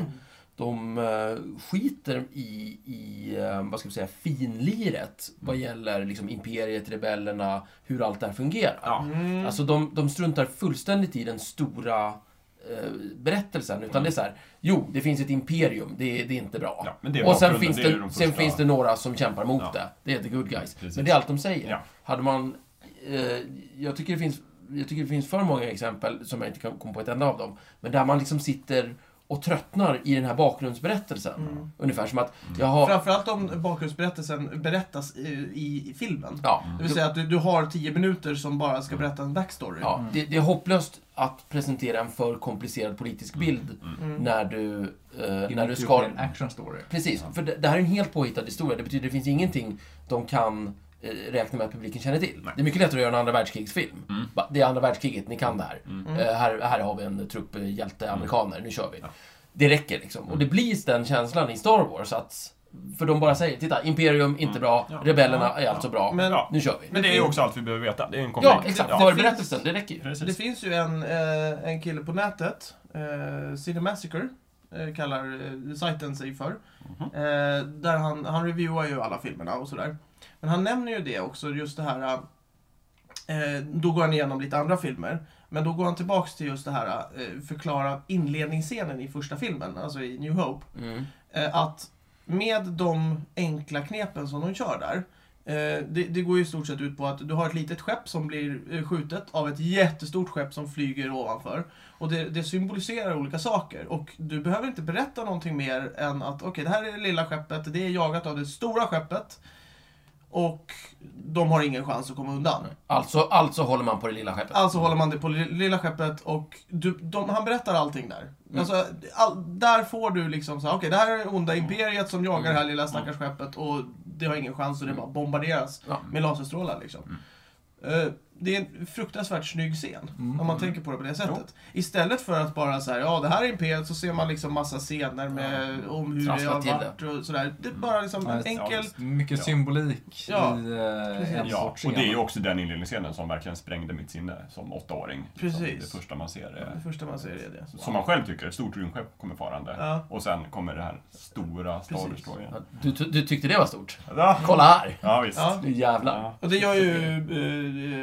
B: de eh, skiter i, i eh, vad ska vi säga, finliret vad gäller liksom, imperiet, rebellerna, hur allt det här fungerar.
D: Ja.
A: Mm.
B: Alltså de, de struntar fullständigt i den stora eh, berättelsen, utan det är så här, jo, det finns ett imperium, det, är- det är inte bra.
D: Ja, men det är
B: och sen
D: bakgrunden,
B: finns
D: det
B: det,
D: är ju de
B: sen
D: första-
B: finns det några som kämpar mot
D: Ja.
B: det. Det är the good guys.
D: Precis.
B: Men det är allt de säger.
D: Ja.
B: Hade man... Eh, jag, tycker det finns, jag tycker det finns för många exempel, som jag inte kan komma på ett enda av dem, men där man liksom sitter och tröttnar i den här bakgrundsberättelsen.
A: Mm.
B: Ungefär som att, jaha...
A: Framförallt om bakgrundsberättelsen berättas i, i, i filmen.
B: Ja,
A: Det vill säga att du, du har 10 minuter som bara ska berätta en backstory.
B: ja, det, det är hopplöst att presentera en för komplicerad politisk bild
A: Mm.
B: när du, eh,
C: Det
B: när du
C: mycket
B: ska...
C: upp i en action story.
B: Precis, för det, det här är en helt påhittad historia. Det betyder att det finns ingenting de kan eh, räkna med att publiken känner till.
D: Nej.
B: Det är mycket lättare att göra en andra världskrigsfilm.
D: Mm.
B: Va, Det är andra världskriget, ni kan det här.
A: Mm.
B: Eh, här. Här har vi en trupp eh,
D: Mm.
B: hjälteamerikaner, nu kör vi. Det räcker liksom. Och det blir den känslan i Star Wars att... För de bara säger, titta, Imperium, inte bra.
D: Mm. Ja.
B: Rebellerna
D: Ja.
B: är alltså bra.
A: Men-
D: Ja.
B: Nu kör vi.
D: Men det är ju också allt vi behöver veta. Det är en konflikt.
B: Ja, exakt.
A: Ja.
B: Förberättelsen, det räcker ju.
A: Det
D: Precis.
A: finns ju en, eh, en kille på nätet, eh, Cinemassacre, eh, kallar eh, sajten sig för.
D: Mhm.
A: Eh, där han, han reviewar ju alla filmerna och sådär. Men han nämner ju det också, just det här... Eh, då går han igenom lite andra filmer. Men då går han tillbaks till just det här, eh, förklara inledningsscenen i första filmen, alltså i New Hope.
B: Mm.
A: eh, att med de enkla knepen som de kör där, eh, det, det går ju i stort sett ut på att du har ett litet skepp som blir eh, skjutet av ett jättestort skepp som flyger ovanför. Och det, det symboliserar olika saker. Och du behöver inte berätta någonting mer än att okej, det här är det lilla skeppet, det är jagat av det stora skeppet. Och de har ingen chans att komma undan.
B: Alltså, alltså håller man på det lilla skeppet.
A: Alltså håller man det på li- lilla skeppet och du, de, han berättar allting där. Alltså, all, där får du liksom så här, okej det här är onda imperiet som jagar det här lilla stackars skeppet och det har ingen chans och det bara bombarderas
B: Ja.
A: med laserstrålar liksom. Eh, det är en fruktansvärt snygg scen, om man tänker på det på det sättet. Istället för att bara så här, ja det här är imperiet, så ser man liksom massa scener med, om hur
B: Trassla
A: det
B: till
A: har varit och sådär. Det är bara liksom
C: Ja,
A: en
C: just-
A: enkel...
D: visst.
C: Mycket
D: Ja.
C: symbolik
A: Ja,
C: i eh, en
D: Ja,
C: sorts
D: och det är ju
C: scen.
D: också den inledningsscenen som verkligen sprängde mitt sinne som åttaåring. Liksom,
A: Precis.
D: Det första man ser.
A: Det
D: Är,
A: första man ser är det.
D: som man själv tycker, ett stort rymdskepp kommer farande.
A: Ja.
D: Och sen kommer det här stora Star
A: Precis.
D: Destroyern.
B: Ja, Du, ty- du tyckte det var stort?
D: Ja.
B: Kolla här!
D: ja, visst.
A: Ja.
B: Nu jävlar.
D: Ja.
A: Och det gör ju,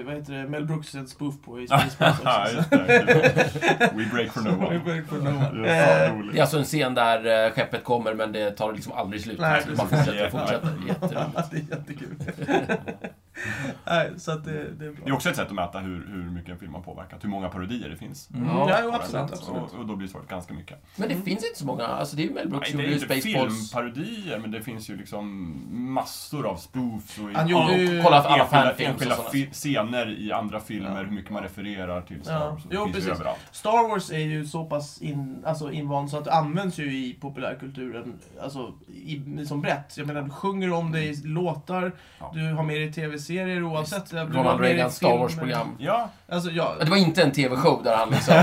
A: eh, vad heter det, Mel Brooks en spoof på i Space Force
D: Ja,
A: också.
D: just det. We break for no
A: We
D: one.
A: break for no one.
D: Det är
A: Eh,
D: så
B: Det är
D: roligt.
B: alltså en scen där eh, skeppet kommer men det tar liksom aldrig slut.
A: Nej,
B: Så man
D: precis.
B: fortsätter och fortsätter. Jätteroligt.
A: det är jättekul. Nej, så att det, det är bra.
D: Det är också ett sätt att mäta hur, hur mycket en film har påverkat, hur många parodier det finns.
C: Mm.
A: Ja,
B: Ja,
A: jo, absolut.
D: Och-
A: absolut.
D: Och, och då blir svaret ganska mycket.
B: Men det finns inte så många. Alltså det är ju Mel Brooks
D: Mm. Nej,
B: som
D: det
B: gjorde
D: är inte
B: Spaceballs.
D: filmparodier, men det finns ju liksom massor av spoofs och
A: Han
B: Ja,
A: gjorde ju-
B: och kolla alla
D: enskilda,
B: fanfilms och
D: enskilda
B: sådana.
D: fi- scener i andra filmer,
A: Ja.
D: hur mycket man refererar till Star
A: Ja.
D: Wars. Det
A: Jo,
D: finns ju
A: precis.
D: överallt.
A: Star Wars är ju så pass in, alltså invand så att det används ju i populärkulturen alltså, i, liksom brett. Jag menar, du sjunger om det i låtar,
D: Ja.
A: du har med det i tv-serier oavsett. Du har
B: Ronald
A: med det i
B: Reagans Star
A: filmer.
B: Wars-program.
D: Ja,
A: Alltså, ja.
B: Det var inte en TV-show där han liksom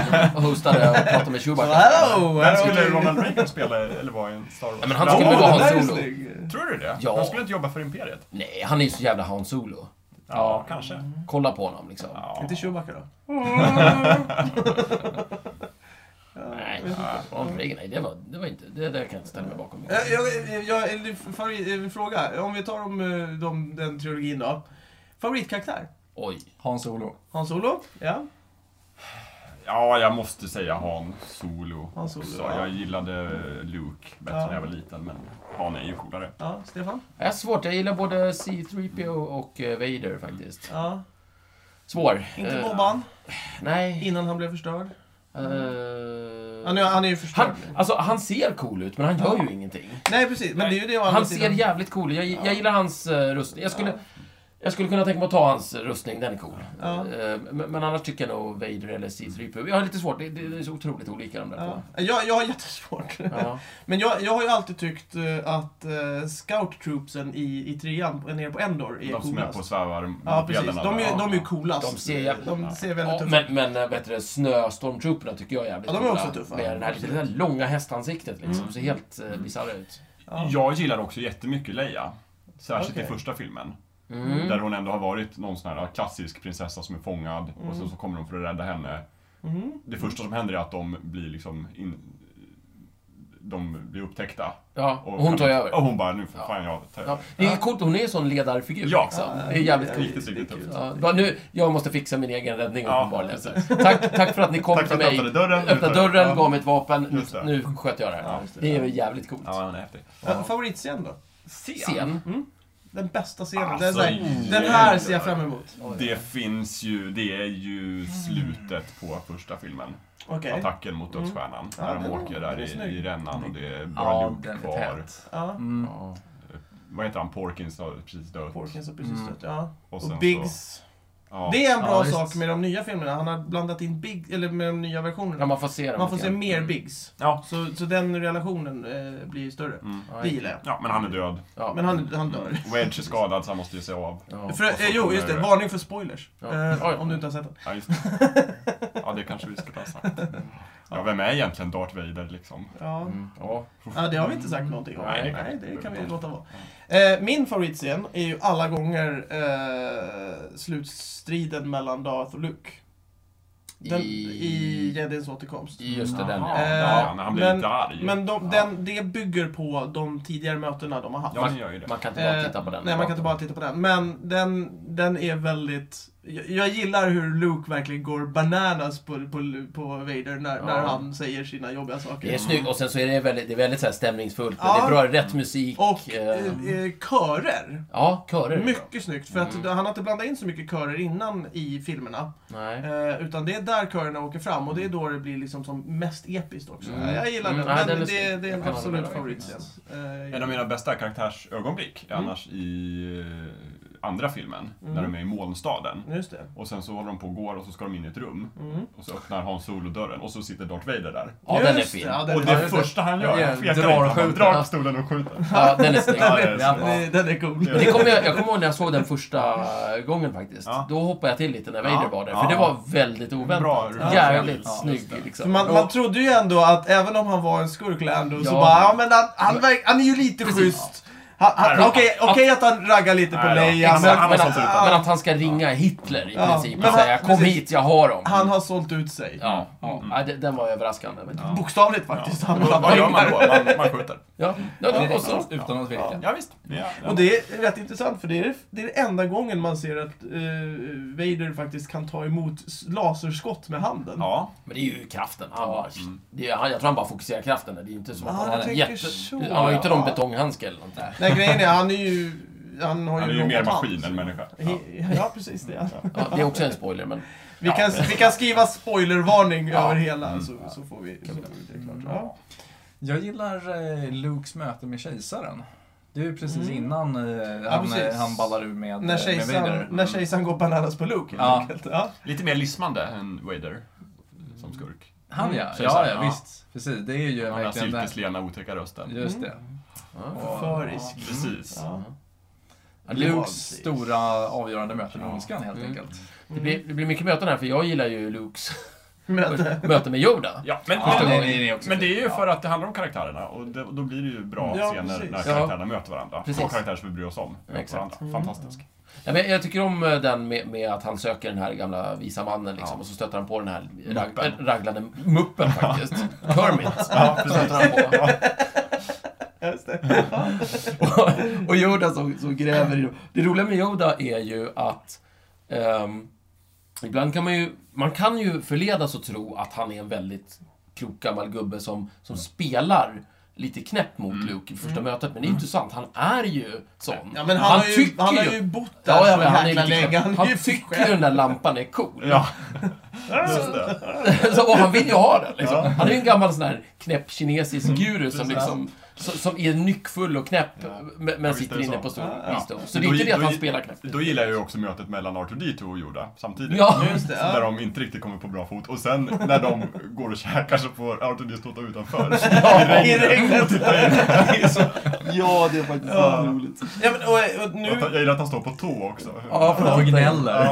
B: hostade och pratade med
A: Så,
B: Chewbacca.
A: hello!
D: vem
A: hello.
D: skulle Ronald Reagan spela eller vara i en Star Wars?
B: Ja, men han
A: Åh,
B: skulle väl
A: den
B: vara
A: där är
B: solo?
A: snygg.
D: Tror du det?
B: Ja.
D: Han skulle inte jobba för Imperiet?
B: Nej, han är ju så jävla Han Solo.
D: Ja, kanske.
B: Kolla på honom liksom.
D: Ja.
A: Mm. Inte Chewbacca då?
B: Nej, Ronald Reagan, nej, det var, det var inte... Det där kan jag inte ställa mig bakom.
A: Eh, Jag, jag, jag, eller favori- eh, fråga, om vi tar om eh, de, den trilogin då. Favoritkaraktär?
B: Oj.
C: Hans Olo.
A: Han Solo? Ja.
D: Ja, jag måste säga Han Solo
A: Han Solo,
D: också.
A: ja.
D: Jag gillade eh, Luke bättre
A: Ja.
D: när jag var liten, men Han är ju coolare.
A: Ja, Stefan?
B: Det är svårt. Jag gillar både C3PO och eh, Vader faktiskt.
A: Ja.
B: Svår.
A: Mm. Inte
B: Eh,
A: Boban,
B: Nej.
A: innan han blev förstörd.
B: Eh,
A: Han är, han är ju förstörd.
B: han, alltså, han ser cool ut, men han gör ju ingenting.
A: Nej, precis. Men det är ju det å andra
B: Han ser
A: sidan.
B: jävligt cool ut. Jag, jag gillar hans eh, rustning. Jag skulle, jag skulle kunna tänka mig att ta hans rustning, den är cool.
A: Ja.
B: Eh, men, men annars tycker jag nog Vader eller C3PO. Jag har lite svårt, det, det, det är så otroligt olika de där
A: Ja.
B: två.
A: Jag, jag har jättesvårt.
B: Ja.
A: Men jag, jag har ju alltid tyckt eh, att eh, scout troopsen i, i trean, nere på Endor, är
D: De som är på
A: coolast.
D: svävar
A: Ja, precis. De är, de är ju coolast.
B: De ser jävligt-
A: De ser väldigt
B: Ja,
A: tuffa ut.
B: men men äh, vet du, det, snöstormtrupperna tycker jag är jävligt
A: Ja, de är
B: coola.
A: också tuffa.
B: Med den här, det där långa hästansiktet liksom.
D: Mm.
B: Ser helt uh, bisarra ut.
A: Ja.
D: Jag gillar också jättemycket Leia. Särskilt i
A: Okej.
D: första filmen.
B: Mm.
D: Där hon ändå har varit någon sån här klassisk prinsessa som är fångad och sen så kommer de för att rädda henne.
A: Mm.
D: Det första som händer är att de blir liksom in... De blir upptäckta.
B: Ja, och hon tar ju över.
D: Och hon bara, nu får
B: Ja.
D: fan jag ta
B: Ja.
D: över.
B: Det är ju coolt, hon är en sån ledarfigur
D: Ja.
B: liksom. Det är jävligt coolt.
D: Riktigt, riktigt tufft.
B: Ja, bara nu, jag måste fixa min egen räddning
D: Ja,
B: uppenbarligen. Tack, tack för att ni kom
D: Tack för
B: till
D: att
B: mig.
D: du öppnade dörren.
B: Öppna dörren,
D: Ja.
B: gav mig ett vapen. Nu,
D: Just det.
B: nu sköter jag det här.
D: Ja,
A: just det.
B: det är ju jävligt coolt.
D: Ja, han är häftig.
A: Ja, favoritscen då?
B: Scen.
A: Den bästa scenen. den,
D: Alltså,
A: så här, den här ser jag fram emot.
D: Det finns ju, det är ju slutet på första filmen.
A: Okej. Mm.
D: Attacken mot dödsstjärnan.
A: Ja,
D: När de
A: den-
D: åker där
A: den är
D: i,
A: snygg.
D: i rännan och det är bara
B: Ja,
D: Luke
C: den är
D: kvar.
C: tät.
A: Ja.
C: Mm.
B: Ja.
D: Vad heter han? Porkins har precis dött.
A: Porkins har precis dött, ja.
D: Och
A: Och,
D: sen
A: Biggs.
D: Ja.
A: Det är en
C: Ja,
A: bra
C: visst.
A: sak med de nya filmerna. Han har blandat in Biggs, eller med de nya
B: Ja, Mm.
A: versionerna.
B: man får se dem
A: Man får se
B: igen.
A: mer Biggs.
D: Ja.
A: Så, så den relationen eh, blir större.
B: Ja,
A: Det gillar jag.
D: Mm. ja, men han är död.
B: ja.
A: Men han, han dör.
D: Wedge är skadad så han måste ju se av.
B: Ja.
A: För, eh, jo, just det. Varning för spoilers.
B: Ja.
A: Eh,
B: Oj.
A: om du inte har sett den.
D: Ja, just det. ja, det kanske vi skulle ha sagt. Ja, vem är egentligen Darth Vader liksom?
A: Ja.
B: Mm. Ja.
A: ja, det har vi inte sagt någonting om.
D: Nej.
A: Nej, det kan vi låta vara. Eh, min favoritscen är ju alla gånger eh, slutstriden mellan Darth och Luke. Den, I Jedins återkomst.
B: i Just det, den.
D: Jaha.
B: ja.
D: Ja,
A: Eh,
D: när han blir
A: men-
D: lite arg.
A: Men de, den, det bygger på de tidigare mötena de har haft.
D: Ja, den gör ju det.
B: Man kan inte bara
A: Eh,
B: titta på den.
A: Nej, man kan inte bara titta på den. Men den, den är väldigt Jag, jag gillar hur Luke verkligen går bananas på, på, på Vader när,
B: Ja.
A: när han säger sina jobbiga saker.
B: Det är snyggt och sen så är det väldigt, det är väldigt så här stämningsfullt.
A: Ja.
B: Det är bra, rätt musik.
A: Och eh,
B: eh,
A: eh, körer.
B: ja, körer. är bra.
A: Mycket snyggt, för att
B: Mm.
A: han har inte blandat in så mycket körer innan i filmerna.
B: Nej.
A: Eh, utan det är där körerna åker fram och det är då det blir liksom som mest episkt också.
B: Mm.
A: Jag gillar
B: Mm,
A: den,
B: ja,
A: men
B: den är
A: det,
B: snygg.
A: det är en
B: Jag kan hålla
A: absolut
B: med.
A: favoritscen. Eh,
D: En av mina bästa karaktärsögonblick är
A: Mm.
D: annars i eh, andra filmen,
A: Mm.
D: när de är i molnstaden.
A: Just det.
D: Och sen så håller de på och går och så ska de in i ett rum.
A: Mm.
D: Och så öppnar Hans Solo dörren och så sitter Darth Vader där.
B: Ja, den är
A: Just
B: fin.
A: det, ja, den
D: Och
A: är-
D: det
C: just det.
D: första han
C: Ja,
D: gör, han tvekar
C: drar och
D: inte, han bara
C: skjuter.
D: drar pistolen och skjuter.
B: Ja, den är snygg.
D: Ja, det är
A: Den
D: snyggt.
A: är- Den är cool.
D: Ja.
B: Men Det kommer jag, jag kommer ihåg när jag såg den första gången faktiskt.
D: Ja.
B: Då hoppade jag till lite när Vader
D: Ja.
B: var där.
D: Ja.
B: För det var väldigt oväntat.
D: Bra reveal.
B: Jävligt
D: Ja, just
B: snygg
D: det.
A: För
B: liksom.
A: Man,
B: Och-
A: man trodde ju ändå att även om han var en skurk, Lando, så
B: Ja.
A: bara ja, men han, han, verk- han är ju lite
B: Precis.
A: schysst. Han- han-
D: Ja.
A: Okej okej att han raggar lite på
D: Ja, ja.
A: Leia,
B: Exakt,
A: men
B: men,
D: han har
B: att,
D: sålt ut den.
B: men att han ska ringa Hitler i
A: Ja,
B: princip
A: men
B: och säga
A: han-
B: kom
A: precis.
B: hit, jag har dem.
A: han har sålt ut sig.
B: Ja, ja.
D: Mm.
B: ja det, den var överraskande. Men... Ja.
A: Bokstavligt faktiskt. Han
D: Vad- Vad gör man då? Man, man skjuter.
B: Ja.
C: Direkt,
B: Ja, och så,
C: Utan att tveka.
D: Ja, visst. Ja, ja.
A: Och det är rätt intressant för det är, det är det enda gången man ser att eh, Vader faktiskt kan ta emot s- laserskott med handen.
D: Ja.
B: men det är ju kraften. Han bara,
D: Mm.
B: det är, han- jag tror han bara fokuserar kraften. där. Det är ju inte så.
A: Ah,
B: han,
A: jag
B: är
A: tänker så,
B: han har ju inte någon
A: ja.
B: betonghandske eller något.
A: Nej, grejen är han är ju... Han har
D: Han är
A: ju
D: ju mer
A: robothand.
D: maskin än människa. Ja.
A: He- Ja, precis det.
B: Ja, det är också en spoiler, men...
A: Vi, kan, vi kan skriva spoilervarning
B: Ja.
A: över hela så, så får vi så får vi det klart. Ja.
C: Jag gillar eh, Lukes möte med kejsaren. Det är ju precis
A: Mm.
C: innan eh, han,
A: precis.
C: eh, han ballar ur med,
A: När
C: eh, med
A: kejsaren,
C: Vader.
A: när kejsaren går bananas på Luke helt
C: Ja.
A: enkelt. Ja.
D: Lite mer lismande än Vader som skurk.
C: Han ja, ja,
D: Mm, Kejsaren,
C: ja
D: ja.
C: visst. Precis, det är ju
D: Den här
C: verkligen...
D: silkeslena otäcka rösten.
C: Just
A: Mm.
C: det.
B: Ja.
C: Och-
A: Förförisk.
D: Precis.
A: Ja.
C: Ja, Lukes
A: Ja, precis.
C: stora avgörande möte med
D: Ja.
C: ondskan helt
B: Mm.
C: enkelt.
B: Det, blir, det blir mycket möten här, för jag gillar ju Lukes
A: Möte.
B: möte med Yoda.
D: Ja, men,
B: Ja,
D: men,
B: det-
C: också
D: men det är ju
C: fint.
D: för att det handlar om karaktärerna och det, och då blir det ju bra
A: Ja,
D: scener
A: precis. Mm.
D: när
B: Ja.
D: karaktärerna möter varandra.
B: Precis.
D: Två karaktärer som vi bryr oss om. Möter
B: Exakt.
D: varandra. Fantastisk.
B: Ja, men jag tycker om eh, den med, med att han söker den här gamla visa mannen liksom,
D: Ja.
B: och så stöter han på den här rag,
D: Muppen.
B: äh, raglande muppen faktiskt. Kermit
D: Ja, precis.
B: stöter han på.
A: Ja, Just det.
B: Och, och Yoda som, som gräver i Det roliga med Yoda är ju att ehm, ibland kan man ju, man kan ju förledas att tro att han är en väldigt klok gammal gubbe som, som spelar lite knäpp mot Luke i första mötet, men det är ju inte sant. Han är ju sån.
A: Mm. Ja, men han, har ju, han har ju bott där
B: Ja, ja,
A: så
B: men han, är
A: jäkla
B: lite-
A: länge. Han,
B: han
A: är ju
B: tycker ju den där lampan är cool.
D: Ja, just det.
B: så, och han vill ju ha den. Liksom. Han är ju en gammal sån här knäpp kinesisk
A: Mm.
B: guru som, liksom, som, som är nyckfull och knäpp men, men
D: visst är
B: sitter
D: det
B: inne
D: så.
B: på stor
A: Ja, ja.
B: visdom. Så det är inte
D: Då-
B: det att
D: då-
B: han spelar knäpp.
D: Då gillar jag ju också mötet mellan R2D2 och Yoda samtidigt.
B: Ja.
A: Just det, ja.
D: Där de inte riktigt kommer på bra fot. Och sen när de går och käkar så får R2D2 stå utanför. Typ.
A: I regnet.
B: Ja, det är faktiskt
A: Ja.
B: roligt.
A: Ja, men, och, och
D: Jag
A: nu,
D: gillar att han står på tå också.
B: Ja,
C: För de gnäller.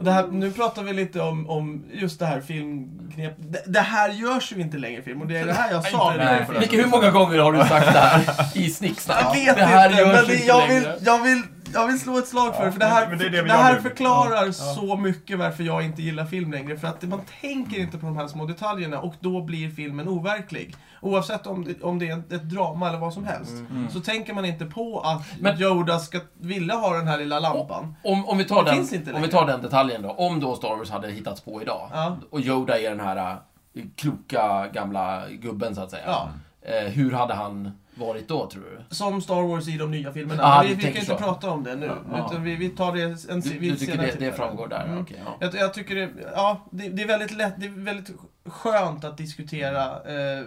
A: det här, nu pratar vi lite om, om just det här filmknep. Det, det här görs ju inte längre i film och det är det här jag sa.
D: Nej,
A: med-
D: nej.
B: Micke, hur många gånger har du sagt det här i snicksnack?
A: Jag vet
B: det här
A: inte, men
B: görs
A: det,
B: inte
A: jag, vill,
B: längre.
A: jag, vill, jag vill slå ett slag för
D: Ja,
A: för det här,
D: men
A: det
D: det är det vi gör
A: här
D: nu.
A: förklarar så mycket varför jag inte gillar film längre. För att man tänker inte på de här små detaljerna och då blir filmen overklig. Oavsett om det, om det är ett, ett drama eller vad som helst. Så tänker man inte på att
B: Mm, Men-
A: Yoda ska vilja ha den här lilla lampan.
B: Om, om, vi tar
A: Det
B: den,
A: finns inte
B: om vi
A: längre.
B: tar den detaljen då. Om då Star Wars hade hittats på idag
A: Ja.
B: och Yoda är den här eh, kloka gamla gubben så att säga.
A: Ja.
B: Eh, hur hade han varit då tror du?
A: Som Star Wars i de nya filmerna.
B: Ah,
A: vi
B: du
A: vi kan
B: tänker
A: inte
B: så.
A: prata om det nu.
B: Ja.
A: Utan vi, vi tar det en
B: Du,
A: vid
B: du
A: ett
B: tycker
A: senare
B: det, det
A: tillfälle.
B: framgår där?
A: Mm.
B: Okej, ja.
A: Jag, jag tycker det, ja, det, det är väldigt lätt, det är väldigt skönt att diskutera eh,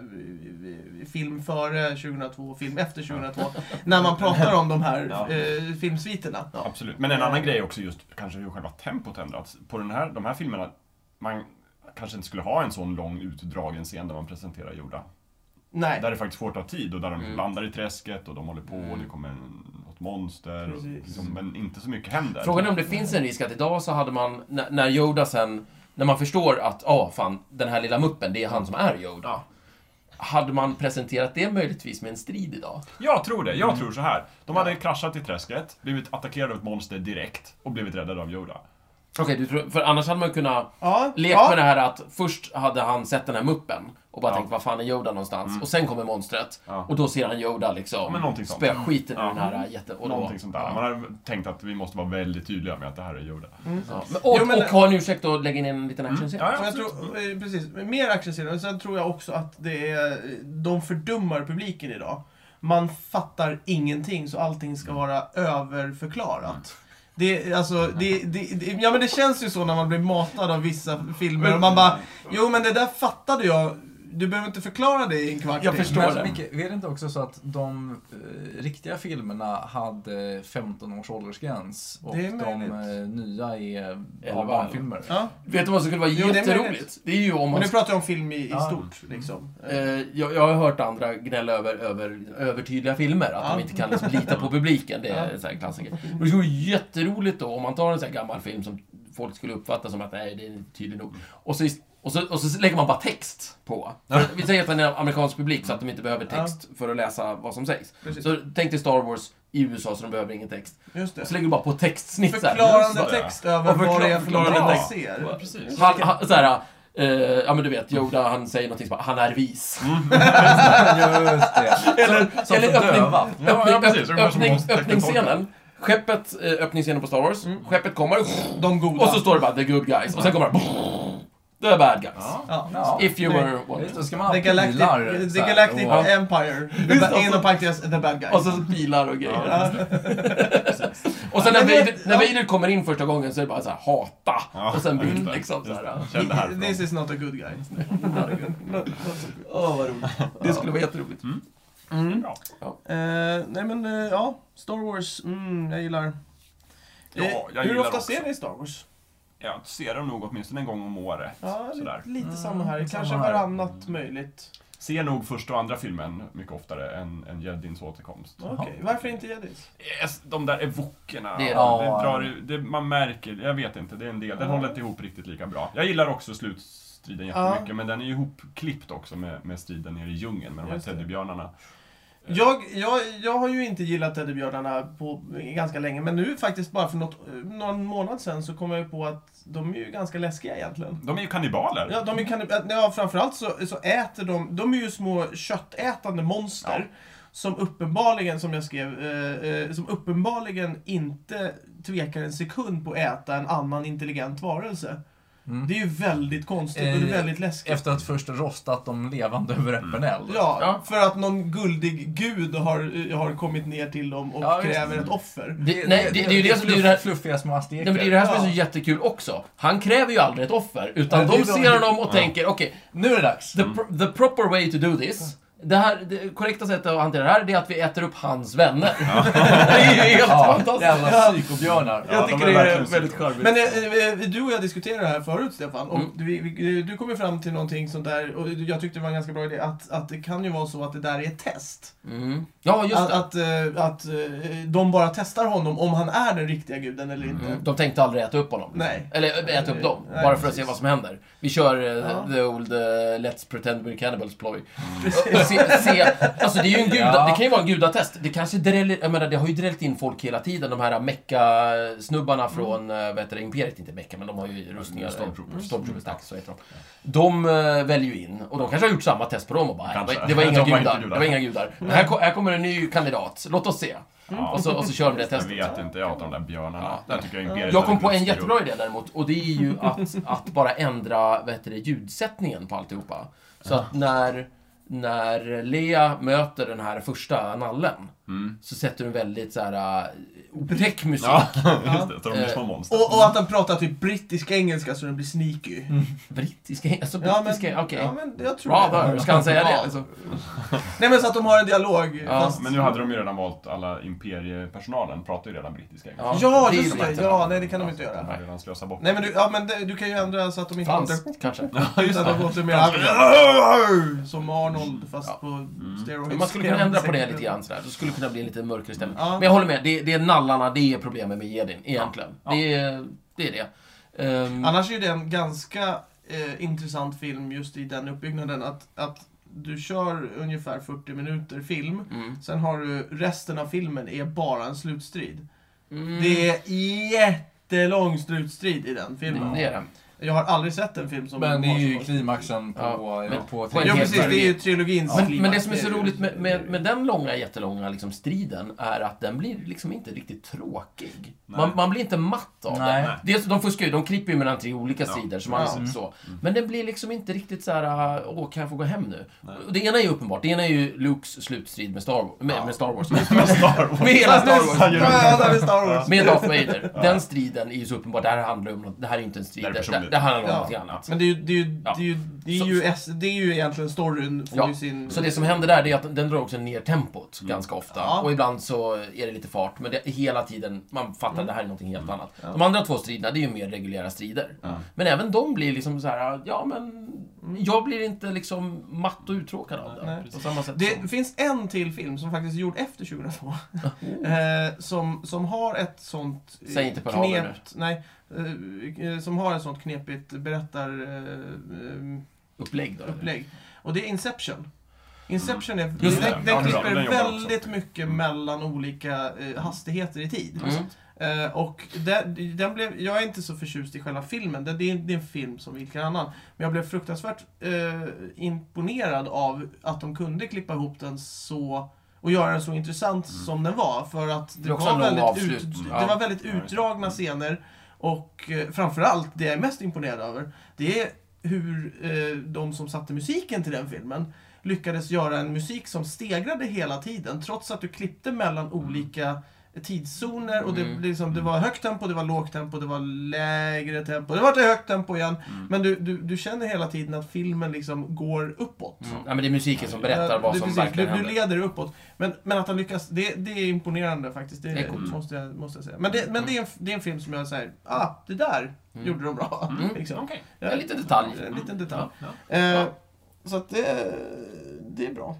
A: film före 2002 och film efter 2002. när man pratar om de här
D: Ja.
A: eh, filmsviterna.
D: Ja, Absolut. Men en annan grej är också just kanske hur själva tempot ändrats. På den här, de här filmerna, man kanske inte skulle ha en sån lång utdragen scen där man presenterar Yoda.
A: Nej.
D: Där det faktiskt får ta tid och där de
B: Mm.
D: landar i träsket och de håller på och det
B: Mm.
D: kommer en, något monster. Och,
A: Precis.
D: liksom, men inte så mycket händer.
B: Frågan är om det finns en risk att idag så hade man, när, när Yoda sen, när man förstår att, ja ah, fan, den här lilla muppen, det är han som är Yoda.
D: Ja.
B: Hade man presenterat det möjligtvis med en strid idag?
D: Jag tror det.
B: Mm.
D: Jag tror så här. De hade kraschat i träsket, blivit attackerade av ett monster direkt och blivit räddade av Yoda.
B: Okej, du tror, för annars hade man kunnat
A: Ja,
B: leka med det här att först hade han sett den här muppen och och bara
D: Ja.
B: tänker, vad fan är Yoda någonstans?
D: Mm.
B: Och sen kommer monstret.
D: Ja.
B: Och då ser han Yoda liksom
D: Men någonting sånt.
B: spöa skiten ur
D: Ja.
B: den här jätte... Och då,
D: Någonting sånt där. Man hade tänkt att vi måste vara väldigt tydliga med att det här är Yoda.
A: Mm.
B: ja. men, och,
A: Jo, men-
B: och ha en ursäkt att lägga in en liten actionscen.
D: Mm. Ja, ja,
A: Och jag
D: absolut.
A: tror, eh, precis, mer actionscener. Och Sen tror jag också att det är, de fördummar publiken idag. Man fattar ingenting så allting ska
B: Mm.
A: vara överförklarat. Det, är- alltså, det, det, det, ja, men det känns ju så när man blir matad av vissa filmer.
B: Mm.
A: Och man bara, jo men det där fattade jag. Du behöver inte förklara det i en kvart
B: Jag
A: till."
B: förstår
C: men,
B: det.
C: Micke, är det inte också så att de eh, riktiga filmerna hade 15 års åldersgräns och
A: Det är
C: de
A: möjligt.
C: eh, nya är
B: Elva.
C: bara barnfilmer?
A: Ja.
B: Vet du vad som skulle vara
A: Jo, det är
B: jätteroligt?
A: möjligt.
B: Det är ju om
A: Men
B: man...
A: nu pratar jag om film i, i
C: Ja.
A: stort. Liksom.
B: Eh, jag, jag har hört andra gnälla över, över övertydliga filmer, att
A: Ja.
B: de inte kan liksom lita på publiken. Det är
A: Ja.
B: en sån här klassiker. Men det vore jätteroligt då om man tar en sån här gammal film som folk skulle uppfatta som att nej, det är inte tydligt nog. Och så, och, så, och så lägger man bara text på. För Vi säger att den är amerikansk publik så att de inte behöver text för att läsa vad som sägs.
A: Precis.
B: Så tänk dig Star Wars i USA så de behöver ingen text.
A: Just
B: Och
A: det.
B: så lägger du bara på textsnitt så här.
A: Förklarande
D: Just det.
A: text över
B: Och förkla-
A: vad det är för något
B: förklarande
A: man
B: text.
A: ser.
D: Precis.
B: Han, han, så här, eh, ja men du vet, Yoda han säger någonting som bara, han är vis.
C: Just det.
B: Eller,
C: Som
B: eller
C: för döva.
B: öppning,
D: Ja,
B: alltså öppning,
D: ja, precis.
B: öpp-
D: Det var som
B: öppning,
D: måste- Mm.
B: öppningsscenen. Skeppet, eh, öppningsscenen på Star Wars. Skeppet kommer
A: De goda.
B: och så står det bara the good guys. Och sen kommer det the bad guys.
D: Ja.
A: ja.
C: Ja.
B: If you
A: Nej.
B: were one.
C: Då ska man ha
A: The Galactic,
C: pilar,
A: the
C: så här,
A: Galactic
C: och-
A: Empire. The ba-
B: Just det,
A: inom parentes, the bad guy.
B: Och så bilar och grejer.
A: Ja.
B: Och sen när
A: Ja, men
B: Vader,
A: det-
B: när
A: ja.
B: Vader kommer in första gången så är det bara så här hata.
D: Ja,
B: Och sen bild
D: just det.
B: liksom så här.
D: Känn det här.
A: This is not a good guy. Not a good. Not, not so good.
B: Åh, vad roligt. Det skulle vara jätteroligt.
A: Mm.
D: Bra.
A: Eh, nej men, eh, ja. Star Wars, mm, jag gillar. Eh,
D: Ja, jag
A: Hur
D: gillar
A: ofta
D: också.
A: ser ni Star Wars?
D: Jag ser dem nog åtminstone en gång om året.
A: Ja,
D: Sådär. Mm.
A: lite, lite
C: Mm,
A: samma här.
C: samma
A: Kanske
C: här.
A: varannat möjligt.
D: Ser nog första och andra filmen mycket oftare än, än Jedins återkomst.
A: Okej, varför inte Jedis?
D: Yes, de där evokerna.
B: Det
D: Det
B: är-
D: drar, det, man märker, jag vet inte, det är en del. Den
A: Ja.
D: håller inte ihop riktigt lika bra. Jag gillar också slutstriden jättemycket, men den är ju ihopklippt också med, med striden nere i djungeln med de här
A: Just det.
D: teddybjörnarna. Eh.
A: Jag, jag, jag har ju inte gillat Teddybjörnarna på ganska länge, men nu faktiskt bara för något, eh, någon månad sedan så kom jag ju på att de är ju ganska läskiga egentligen.
D: De är ju kannibaler.
A: Ja, de är kan, ja, framförallt så, så äter de, de är ju små köttätande monster. Som uppenbarligen, som jag skrev, eh, eh, som uppenbarligen inte tvekar en sekund på att äta en annan intelligent varelse.
C: Mm.
A: Det är ju väldigt konstigt och det är
C: Eh,
A: väldigt läskigt.
C: Efter att först rostat dem levande över
B: Mm.
C: öppen eld.
A: Ja,
B: Ja.
A: för att någon guldig gud har, har kommit ner till dem och
C: Ja, visst.
A: kräver ett offer.
B: Det, nej, det, det är ju det som det är ju det
C: fluff-
B: här
C: fluffiga små
B: Nej,
C: azteker.
B: men det är ju det här som är
A: Ja.
B: så jättekul också. Han kräver ju aldrig ett offer, utan
C: Nej, det
B: de
C: är då-
B: ser honom och tänker okej,
C: Nu är det dags.
B: the, pro- the proper way to do this det, här, det korrekta sättet att hantera det här det är att vi äter upp hans vänner. det är ju helt fantastiskt.
C: Jävla psykobjörnar.
A: Jag
D: de
A: tycker
D: är
A: det är
D: verkligen
B: Väldigt
D: psyko.
B: charmigt.
A: Men eh, eh, du och jag diskuterade det här förut, Stefan. Och
B: Mm.
A: vi, vi, eh, du kom ju fram till någonting sånt där, och jag tyckte det var en ganska bra idé, att, att det kan ju vara så att det där är ett test.
B: Mm. Ja, just
C: Alltså,
A: Att,
B: det.
A: att, eh, att eh, de bara testar honom om han är den riktiga guden eller inte.
B: Mm. De tänkte aldrig äta upp honom.
A: Nej.
B: Eller äh, äta upp dem,
A: Nej,
B: bara för att se
A: precis.
B: vad som händer. Vi kör eh,
A: Ja. Mm.
B: the old eh, Let's pretend we're cannibals ploj.
A: Precis.
B: se, se, alltså det är ju en guda,
C: Ja.
B: det kan ju vara en gudatest. Det kanske dräller, jag menar det har ju drällt in folk hela tiden, de här mecka-snubbarna från, mm. vad heter det, Imperiet, inte mecka, men de har ju rustningar.
A: Mm,
D: Stormtroopers.
B: Stormtroopers, tack, så heter de. De eh, väljer ju in, och de kanske har gjort samma test på dem och bara, nej,
D: Kanske.
B: det var inga
D: De var inte
B: gudar, det
D: gudar.
B: var inga gudar. Men här, ko- här kommer en ny kandidat, låt oss se.
D: Ja.
B: Och så, och så kör de det
D: Jag
B: testet.
D: vet inte, jag hatar de där björnarna.
B: Mm. Ja.
D: Där tycker jag Imperiet
B: Jag
D: hade
B: kom på en
D: kunnat styra upp.
B: jättebra idé däremot och det är ju att, att bara ändra vad heter det, ljudsättningen på alltihopa. Så att när, när Lea möter den här första nallen
D: Mm.
B: så sätter du väldigt så här äh, otäck musik.
D: Ja, just det. Så de blir
B: Eh,
D: små monster.
A: Och, och att han pratar typ brittisk engelska så den blir sneaky.
B: Brittiska, alltså
A: Ja,
B: Mm. brittiska,
A: men-
B: okej.
A: ja, men jag tror
B: Rather,
A: det.
B: ska han säga det?
A: Ja.
B: Alltså.
A: Nej men så att de har en dialog.
B: Ja,
A: fast...
D: Men nu hade de ju redan valt, alla imperiepersonalen pratar ju redan brittiska.
B: Ja.
A: Ja,
B: det är
A: just
B: ju
A: det.
B: inte-
A: Ja, nej det kan de inte
D: De
A: göra.
D: har redan slösat bort.
A: Nej men du, ja, men det, du kan ju ändra så att de inte
B: Franskt,
A: låter-
B: kanske.
D: Ja, just
A: Utan
D: det.
A: de låter mer som Arnold fast
B: Ja.
A: på
C: Mm.
A: steroids.
B: Men man skulle kunna ändra på det lite grann sådär. Det skulle kunna bli en lite mörkare stämning.
A: Ja.
B: Men jag håller med, det, det är nallarna, det är problemet med Jedin, egentligen. Det, är, det är det. Ehm,
A: Annars är ju det en ganska eh, intressant film just i den uppbyggnaden att, att du kör ungefär 40 minuter film.
B: mm.
A: Sen har du resten av filmen är bara en slutstrid.
B: Mm.
A: Det är jättelång slutstrid i den filmen.
B: Mm, Det är det.
A: Jag har aldrig sett en film som...
C: Men det är
A: har så
C: ju
A: många-
C: klimaxen på...
B: Ja,
C: Ja,
B: men-
C: på
B: Jo,
A: Jo
B: helt
A: precis, det är ju
B: möjligt.
A: trilogins
B: Men,
A: klimax.
B: men det som är så
A: ju-
B: roligt med, med, med den långa, jättelånga liksom striden är att den blir liksom inte riktigt tråkig. Man, man blir inte matt av
C: Nej.
B: den. Dels, de fuskar ju, de klipper ju mellan tre olika
D: Ja. Mm.
B: sidor, som man
A: Ja.
B: har sett så. Men den blir liksom inte riktigt så här, "Ah, åh, kan jag få gå hem nu?
D: Nej.
B: Och Det ena är ju uppenbart, det ena är ju Lukes slutstrid med Star, med,
D: Ja.
B: med Star Wars.
D: Star Wars.
B: med hela Star Wars.
D: Han gör det.
A: Ja, där är Star Wars.
B: Med Darth Vader. Den striden är ju så uppenbar. Det här handlar ju om något, det här är ju inte en strid.
D: Det här är
B: Det, det,
D: personligt.
B: handlar om
A: Ja.
B: någonting annat.
A: Men det är ju, det är ju,
B: Ja.
A: det är ju, det är
B: Så-
A: ju, S, det är ju egentligen storyn får
B: Ja.
A: ju sin...
B: Så det som händer där, det är att den drar också ner tempot ganska ofta.
A: Mm. Ja.
B: Och ibland så är det lite fart, men det, hela tiden, man fattar det här är någonting helt annat.
A: Mm. Ja.
B: De andra två striderna, det är ju mer reguljära strider.
D: Ja.
B: Men även de blir liksom så här, ja men... Jag blir inte liksom matt och uttråkad av det.
A: Mm. Nej.
B: På samma sätt som...
A: Det finns en till film som faktiskt är gjord efter 2002. eh, som, som har ett sånt... eh,
B: Oh. Säg inte Pearl Harbor
A: knept- Nej. Eh, eh, som har ett sånt knepigt berättarupplägg.
B: Upplägg då.
A: Eh,
B: Upplägg.
A: upplägg. och det är Inception. Inception är,
B: Mm. Just det.
A: den,
D: Ja,
A: den
D: den
A: klipper
D: jobbar jag också.
A: väldigt mycket
D: Mm.
A: mellan olika eh, hastigheter i tid.
B: Mm.
A: Eh, och den, den blev, jag är inte så förtjust i själva filmen, det, det, är, det är en film som vilken annan. Men jag blev fruktansvärt eh, imponerad av att de kunde klippa ihop den så och göra den så intressant som den var. För att det,
B: Mm. Det är också
A: var,
B: en lång
A: väldigt
B: avslut.
A: ut,
B: Ja. Mm.
A: det var väldigt utdragna scener. Och eh, framförallt, det jag är mest imponerad över, det är hur eh, de som satte musiken till den filmen lyckades göra en musik som stegrade hela tiden trots att du klippte mellan olika tidszoner och det,
B: Mm.
A: liksom, det var högt tempo, det var lågt tempo, det var lägre tempo, det var till högt tempo igen.
B: Mm.
A: Men du, du, du känner hela tiden att filmen liksom går uppåt.
B: Mm. Ja, men det är musiken som berättar vad
A: du,
B: som
A: precis,
B: verkligen
A: du, du
B: händer.
A: leder uppåt. Men, men att han lyckas, det, det är imponerande faktiskt. Det,
B: Det är coolt.
A: måste, jag, måste jag säga. Men, det, men det, är en, det är en film som jag säger, ah, det där
B: Mm.
A: gjorde de bra.
B: Mm.
A: Liksom.
D: Okej.
B: En liten detalj. Mm.
A: En liten detalj.
B: Ja.
A: Eh,
B: Ja.
A: Så att det, det är bra.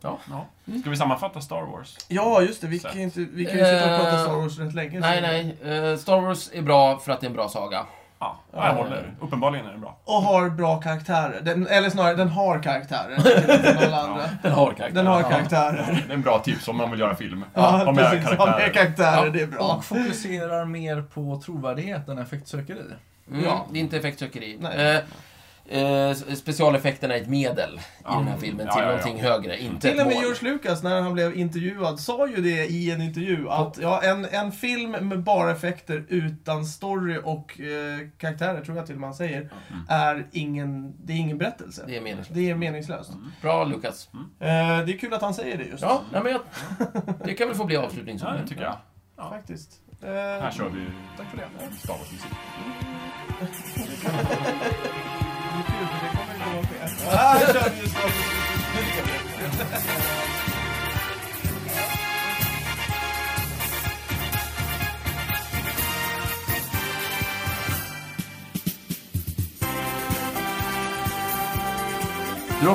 B: Ja.
A: Mm.
D: Ska vi sammanfatta Star Wars?
A: Ja, just det. Vi
D: Så.
A: kan ju, inte, vi kan ju sitta och prata
B: Eh,
A: Star Wars rätt länge.
B: Nej,
A: så-
B: nej. Eh, Star Wars är bra för att det är en bra saga.
D: Ja, jag
B: Ja.
D: håller. Uppenbarligen är det bra.
A: Och har bra karaktärer. Den, eller snarare, den har karaktärer. till skillnad från alla andra.
B: Den har karaktär.
A: Den har
C: Ja.
A: karaktärer.
D: Det är en bra tips om man vill göra film.
A: Ja,
D: ha med
A: precis. Ha
D: karaktärer.
A: med karaktärer,
B: Ja.
A: det är bra.
C: Och fokuserar mer på trovärdighet än effektsökeri.
B: Mm,
A: Ja.
B: Det är inte effektsökeri.
A: Nej.
B: Eh, Eh, s- specialeffekterna är ett medel i
D: Ja.
B: den här filmen
D: Ja,
B: till
D: ja, ja.
B: någonting högre, inte
A: Till och
B: ett
A: med
B: mål.
A: George Lucas, när han blev intervjuad, sa ju det i en intervju. Att ja, en, en film med bara effekter utan story och eh, karaktärer, tror jag till och med han säger,
D: Mm.
A: är ingen, det är ingen berättelse.
B: Det är meningslöst.
A: Det är meningslöst.
B: Bra Lukas.
A: Eh, det är kul att han säger det just.
B: Ja, nej, men jag, det kan väl få bli avslutningsord.
D: Ja, det tycker jag.
A: Faktiskt. Eh,
D: Här kör vi
A: Tack för det.
D: Star Wars-musik.
A: Eh, Det är kul, för det kommer inte vara fel. Ah, här kör vi just Star Wars.
D: Du har